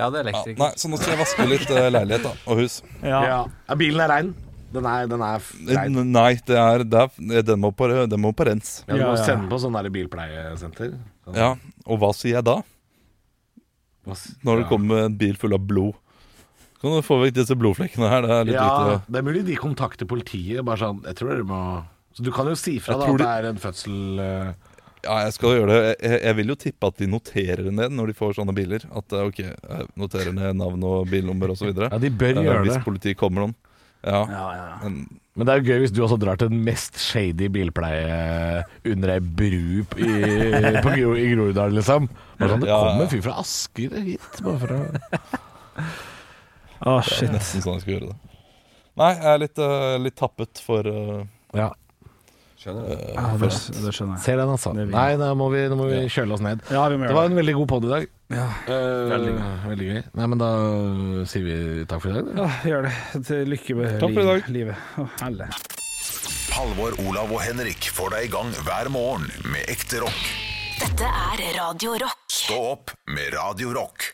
Ja, det er Ja, nei, så nå skal jeg vaske litt eh, leilighet da, og hus. Ja. Ja, Bilen er rein. Den er, den er f- rein. Eh, N- Nei, det er, det er, eh, den, må på, den må på rens. Ja, du må sende på sånn der bilpleiesenter. Sånn. Ja, og hva sier jeg da? Når det ja. kommer en bil full av blod. Kan du få vekk disse blodflekkene her? Det er litt Ja, lite det er mulig de kontakter politiet. Bare sånn, jeg tror dere må Så du kan jo si fra Jeg da tror at det de- er en fødsel eh, Ja, jeg skal gjøre det. Jeg- Jeg, jeg vil jo tippe at de noterer ned når de får sånne biler. At eh, ok, jeg noterer ned navn og bilnummer osv. Ja, de bør gjøre Hvis det. politiet kommer noen. Ja, Men, Men det er jo gøy hvis du også drar til den mest shady bilpleie under ei bru p- i, på Gro, i Groruddalen, liksom. Bare sånn, det Ja, ja. kommer en fyr fra Asker hit bare for å Å, det er shit. nesten sånn jeg skal gjøre det. Nei, jeg er litt, eh, litt tappet for eh, Ja. eh, Ja, det, for- det skjønner jeg. Ser den, altså. Det er vi. Nei, nå må vi, nå må vi kjøle oss ned. Ja, vi må Det var gjøre det. en veldig god podd i dag. Ja, Eh, veldig veldig gøy. Nei, men da øh, sier vi takk for i dag. da. Ja, gjør det. Til lykke med Takk for i liv- dag. livet. Å, helle. Halvor, Olav og Henrik får deg i gang hver morgen med ekte rock. Dette er Radio Rock. Stå opp med Radio Rock.